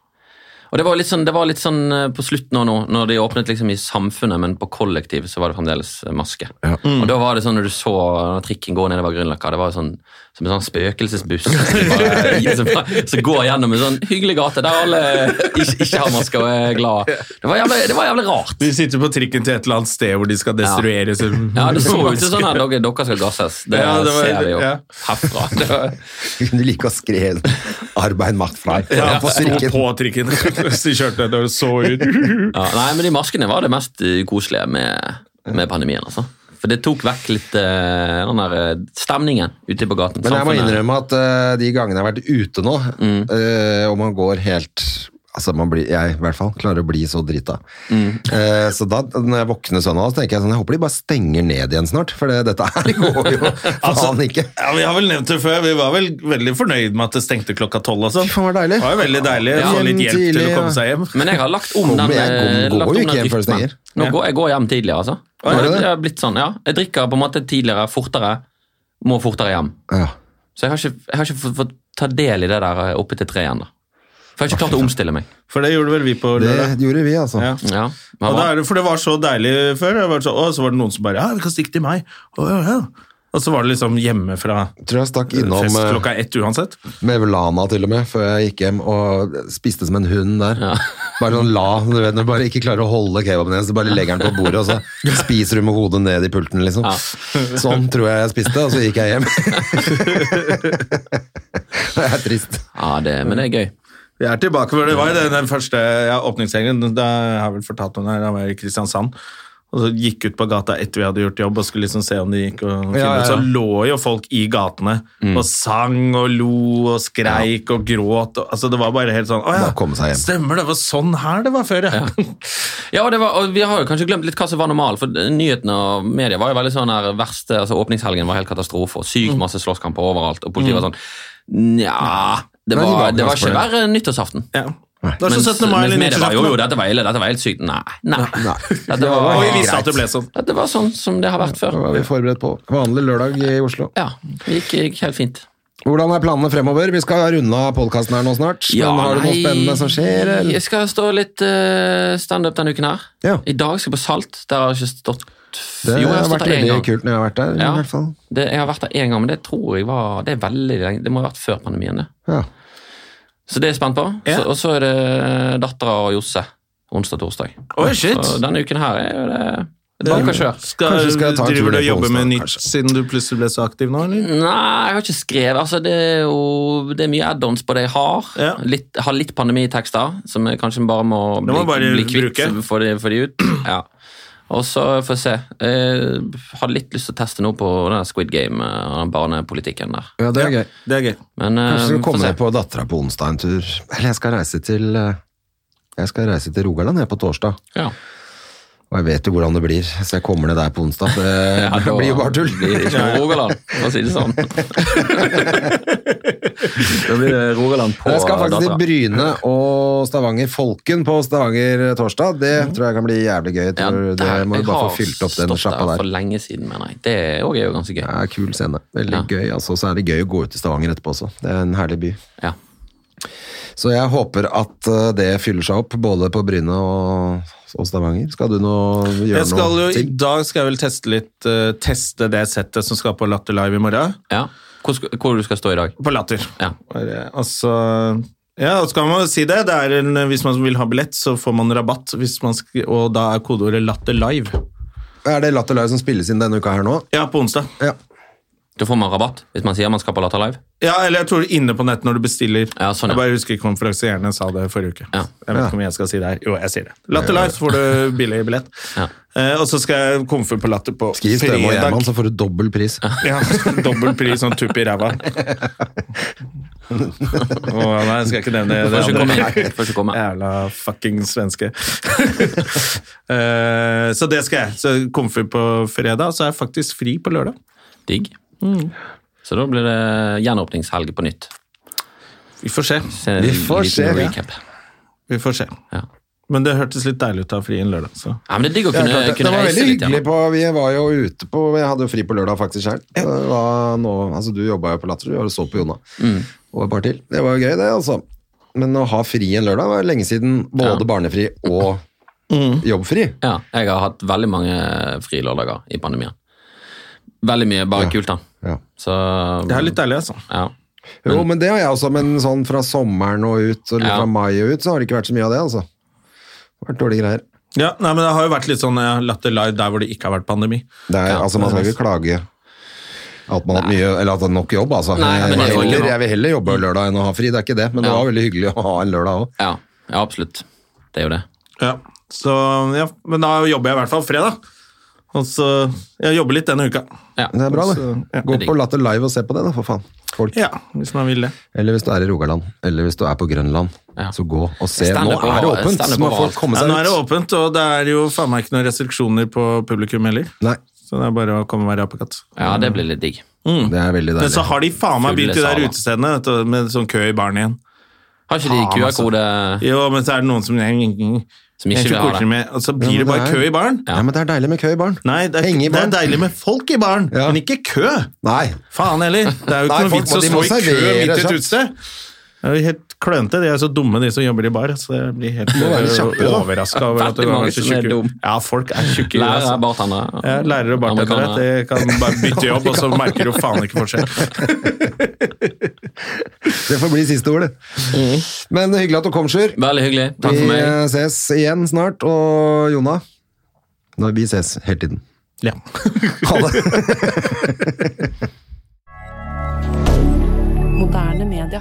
Og det var litt sånn, det var litt sånn eh, på slutten av nå, når de åpnet liksom i samfunnet, men på kollektiv så var det fremdeles eh, maske. Og da var det sånn når du så når trikken gå nedover Grünerløkka, det var jo sånn som en sånn spøkelsesbuss som, bare, som, bare- som går gjennom en sånn hyggelig gate der alle ikke, ikke har maske og er glad. Det var jævlig, det var jævlig rart.
De sitter på trikken til et eller annet sted hvor de skal destruere sin-
Ja, det så jo ut som sånn at dere, dere skal gasses. Det,
Ja, det var-
ser vi jo
ja.
herfra. Det var,
Vi kunne like å skrevet 'Arbeid macht frei'
Ja,
på
sto
strikken.
på trikken mens de kjørte nedover og så ut.
ja, nei, men de maskene var det mest eh, koselige med, med pandemien, altså. For det tok vekk litt eh, den der eh, stemningen ute på gaten.
Men jeg må
Samfunnet- Mm.
innrømme at eh, de gangene jeg har vært ute nå, eh, og man går helt Altså, man blir, jeg i hvert fall klarer å bli så drita.
Mm.
Eh, så da, når jeg våkner søndag, så tenker jeg sånn, jeg håper de bare stenger ned igjen snart, for det, dette her går jo
Altså,
faen ikke.
Ja, Vi har vel nevnt det før, vi var vel veldig fornøyd med at det stengte klokka tolv. og sånn.
Fy faen, var
Det
deilig.
var jo veldig deilig å
Ja.
få litt
Hjem
hjelp til å
tidlig,
komme seg hjem.
Men jeg har lagt om
Kommer
den
jeg-
eh,
går- går jo
lagt om den
ikke hjem før det
rytmen.
stenger.
Nå går jeg går hjem tidligere, altså.
gjør du det?
Jeg har blitt sånn, ja. Jeg drikker på en måte tidligere, fortere, må fortere hjem.
Ja.
Så jeg har ikke, jeg har ikke fått, fått ta del i det der eh, oppe til tre igjen, da. For jeg har ikke klart å omstille meg.
For det gjorde vel vi på
Det
lørdag.
gjorde vi, altså.
Ja.
Ja,
Og da er det, for det var så deilig før. Det var så, å, så var det noen som bare Ja, vi kan stikke til meg. Å, ja, ja. Og så var det liksom hjemmefra
Tror jeg stakk innom
fest
eh,
klokka ett uansett.
Mevlana til og med, før jeg gikk hjem og spiste som en hund der. Bare sånn la, du vet, når du bare ikke klarer å holde kebaben igjen, så bare legger den på bordet, og så spiser du med hodet ned i pulten, liksom. Sånn tror jeg jeg spiste, og så gikk jeg hjem. det er trist.
Ja, det, men det er gøy.
Vi er tilbake hvor det var i den, den første ja, åpningshelgen. Da har jeg vel fortalt om det her, da var jeg i Kristiansand. Og så gikk ut på gata etter vi hadde gjort jobb og skulle liksom se om det gikk. Og finne
Ja, Mm. ja,
ut.
ja.
Så lå jo folk i gatene og sang og lo og skreik og gråt. Og, altså Det var bare helt sånn Å ja,
Bare komme seg hjem."
stemmer det, det var sånn her det var før, ja.
Ja, og, det var, og Vi har jo kanskje glemt litt hva som var normal, for nyhetene og media var jo veldig sånn her verste, altså Åpningshelgen var helt katastrofe, og sykt
Mm.
masse slåsskamper overalt, og politiet var sånn Nja det
Nei, Mm. de var
var,
ikke
det
ganske
var ikke
fornøyd.
verre enn nyttårsaften.
ja. Det var
Mens,
sånn 17. mai
mens
eller
media var jo, jo,
1917.
dette var ille, dette var helt sykt. Nei. nei. Dette,
Og
var,
vi visste at det ble sånn.
dette var sånn som det har vært
Da
før.
var vi forberedt på vanlig lørdag i Oslo.
Ja, Det gikk, gikk helt fint.
Hvordan er planene fremover? Vi skal runde av podkasten her nå snart.
Ja,
men har du noe
nei,
spennende som skjer? Eller?
Jeg skal stå litt eh, standup denne uken her.
Ja.
I dag skal jeg på Salt. Der har jeg ikke stått
Det
Jo, jeg
har vært
stått der én
veldig
gang.
kult når jeg har vært der.
Ja.
i hvert fall.
Det, jeg har vært der én gang, men det tror jeg var Det er veldig lenge. Det må ha vært før pandemien. det.
Ja.
Så det er jeg spent på.
Ja.
Så, og så er det dattera og Josse onsdag og torsdag.
Oi, shit!
Så denne uken her er jo det det banker kjør.
Skal,
Kanskje skal jeg ta en tur
driver du og
ned på
jobber med
onsdag,
nytt
kanskje.
siden du plutselig ble så aktiv nå, eller?
Nei, jeg har ikke skrevet. Altså, det er jo det er mye add-ons på det jeg har.
Ja.
Litt, jeg har litt pandemitekster, som jeg kanskje bare må
Det
bli,
må bare
bli kvitt.
bruke.
Få de, få de ut. Ja. Og så får jeg se. Jeg har litt lyst til å teste noe på den der Squid Game eh, og den barnepolitikken der.
ja, det er gøy.
Det er gøy.
Men,
Kanskje du
eh,
skal
får
komme
se.
ned på dattera på onsdag en tur. Eller jeg skal reise til eh, Jeg skal reise til Rogaland jeg på torsdag.
Ja.
Og jeg vet jo hvordan det blir, så jeg kommer ned der på onsdag. Det,
Ja,
Eh, det
da-
blir jo bare tull.
blir det ikke noe Rogaland, for å si det sånn. da blir det Rogaland på
Jeg skal faktisk
dattera.
til Bryne og Stavanger Folken på Stavanger torsdag. Det tror jeg kan bli jævlig gøy. Jeg
Ja,
tror
der-
det må
jeg
du bare
har
få fylt opp den
stått
sjappa
For
der.
lenge siden, mener jeg. Det òg er jo ganske
Det
gøy.
er en kul scene. Veldig
Ja.
gøy. altså. Så er det gøy å gå ut i Stavanger etterpå også. Det er en herlig by.
Ja.
Så jeg håper at eh, det fyller seg opp, både på Bryne og, og Stavanger. Skal du nå gjøre
Jeg skal jo,
noe?
I dag skal jeg vel teste litt eh, Teste det settet som skal på Latter Live i morgen.
ja. Hvor, sk- hvor du skal stå i dag?
På Latter.
Ja.
Bare, Altså ja, og så kan man jo si det. det er en, hvis man vil ha billett, så får man rabatt. Hvis man sk og da er kodeordet 'Latter Live'.
Er det Latter Live som spilles inn denne uka her nå?
Ja, på onsdag.
Ja.
Da får man rabatt hvis man sier man skal på Latter Live.
Ja, Eller jeg tror inne på nett når du bestiller.
Ja, sånn, ja.
Jeg bare husker ikke konferansierne sa det forrige uke.
Ja.
Jeg vet
Ja.
ikke om jeg skal si det her. Jo, jeg sier det. Latter Live, så får du billig billett.
Ja.
Eh, og så skal jeg komfe på Latter på
Skriv Støme og
fredag.
Gjerman, så får du dobbel pris.
Ja, dobbel pris sånn tupp i ræva. Å, nei, jeg skal ikke nevne
Du
det
får ikke komme
andre.
inn. Du Får ikke komme.
Jævla fucking svenske. Eh, så det skal jeg. Så Komfyr på fredag, så er jeg faktisk fri på lørdag.
Digg. Så da blir det gjenåpningshelg på nytt.
Vi får se.
Se en
Vi får
liten
se, ja.
recap.
Vi får se.
Ja.
Men det hørtes litt deilig ut å ha fri en lørdag. Så.
ja, men Det er digg
Ja,
å kunne,
klart det.
kunne
det var
reise
veldig
litt
hyggelig
igjen.
på Vi var jo ute på Jeg hadde jo fri på lørdag faktisk sjøl. Altså, du jobba jo på Latter, du så på Jonna.
Mm.
Og et par til. Det var jo gøy, det, altså. Men å ha fri en lørdag var lenge siden. Både
Ja. Mm.
barnefri og jobbfri.
Ja, jeg har hatt veldig mange frilørdager i pandemien. Veldig mye bare kult, da.
Ja.
Så
Det er litt deilig, altså.
ja.
Jo, men det har jeg også, men sånn fra sommeren og ut, og litt
Ja.
fra mai og ut, så har det ikke vært så mye av det, altså. Det har vært dårlige greier.
Ja, nei, men Det har jo vært litt sånn jeg har latt det live der hvor det ikke har vært pandemi.
Det er, altså, man skal ikke klage at man har hatt mye, eller at det er nok jobb, altså.
Nei, men
jeg,
det er
vil
jo ikke
heller,
noe.
jeg vil heller jobbe lørdag enn å ha fri, det er ikke det, men det
Ja.
var veldig hyggelig å ha en lørdag òg.
Ja, ja, absolutt. Det er jo det.
Ja, så, ja, Men da jobber jeg i hvert fall fredag. Og så, Jeg jobber litt denne uka.
Ja.
Det er bra, det.
Så, ja.
Gå på Latter Live og se på det, da, for faen. Folk.
Ja, hvis man vil det.
Eller hvis du er i Rogaland, eller hvis du er på Grønland,
Ja.
så gå og se. Nå
Standup
er det
overalt.
åpent, så
Standup
må folk
overalt.
komme
Ja,
seg
nå er det
ut.
åpent, og det er jo faen meg ikke noen restriksjoner på publikum heller.
Nei,
Så det er bare å komme og være apekatt.
Ja, det blir litt digg.
det er
Mm.
veldig
Men så
deilig.
har de faen meg begynt de der
Fulle saler.
utestedene vet du, med sånn kø i baren igjen.
Har ikke de
Faen, altså.
QR-kode
Jo, men så er det noen som Jeg
som ikke
vil
vil ha det?
Med, og så blir
Ja,
det
men
bare
det er-
kø i baren.
Ja, men det er deilig med kø i baren.
Nei, det er,
Henge i
det
baren.
er deilig med folk i baren,
Ja.
men ikke kø.
Nei.
Faen heller. Det er jo
Nei,
ikke noe
folk
vits
må-
å
de
stå
må
i kø
servere
midt i et
seg.
utested. Det er jo helt klønete. De er så dumme, de som jobber i bar. Så jeg blir helt
Må være kjappere, da.
overraska over at
Veldig
det
mange
var så
som er
tjukke
dum.
Ja, folk er tjukke. i huet,
Lærere,
altså.
bartendere.
Ja, lærere og bartendere.
amerikanere.
De kan bare bytte jobb, og så merker du faen ikke forskjell.
Det får bli siste ord, det.
Mm.
Men hyggelig at du kom, Sjur.
Veldig hyggelig. Takk
Vi
for meg.
eh, ses igjen snart, og Jona Når vi ses hele tiden.
Ja.
Ha det!
Moderne media.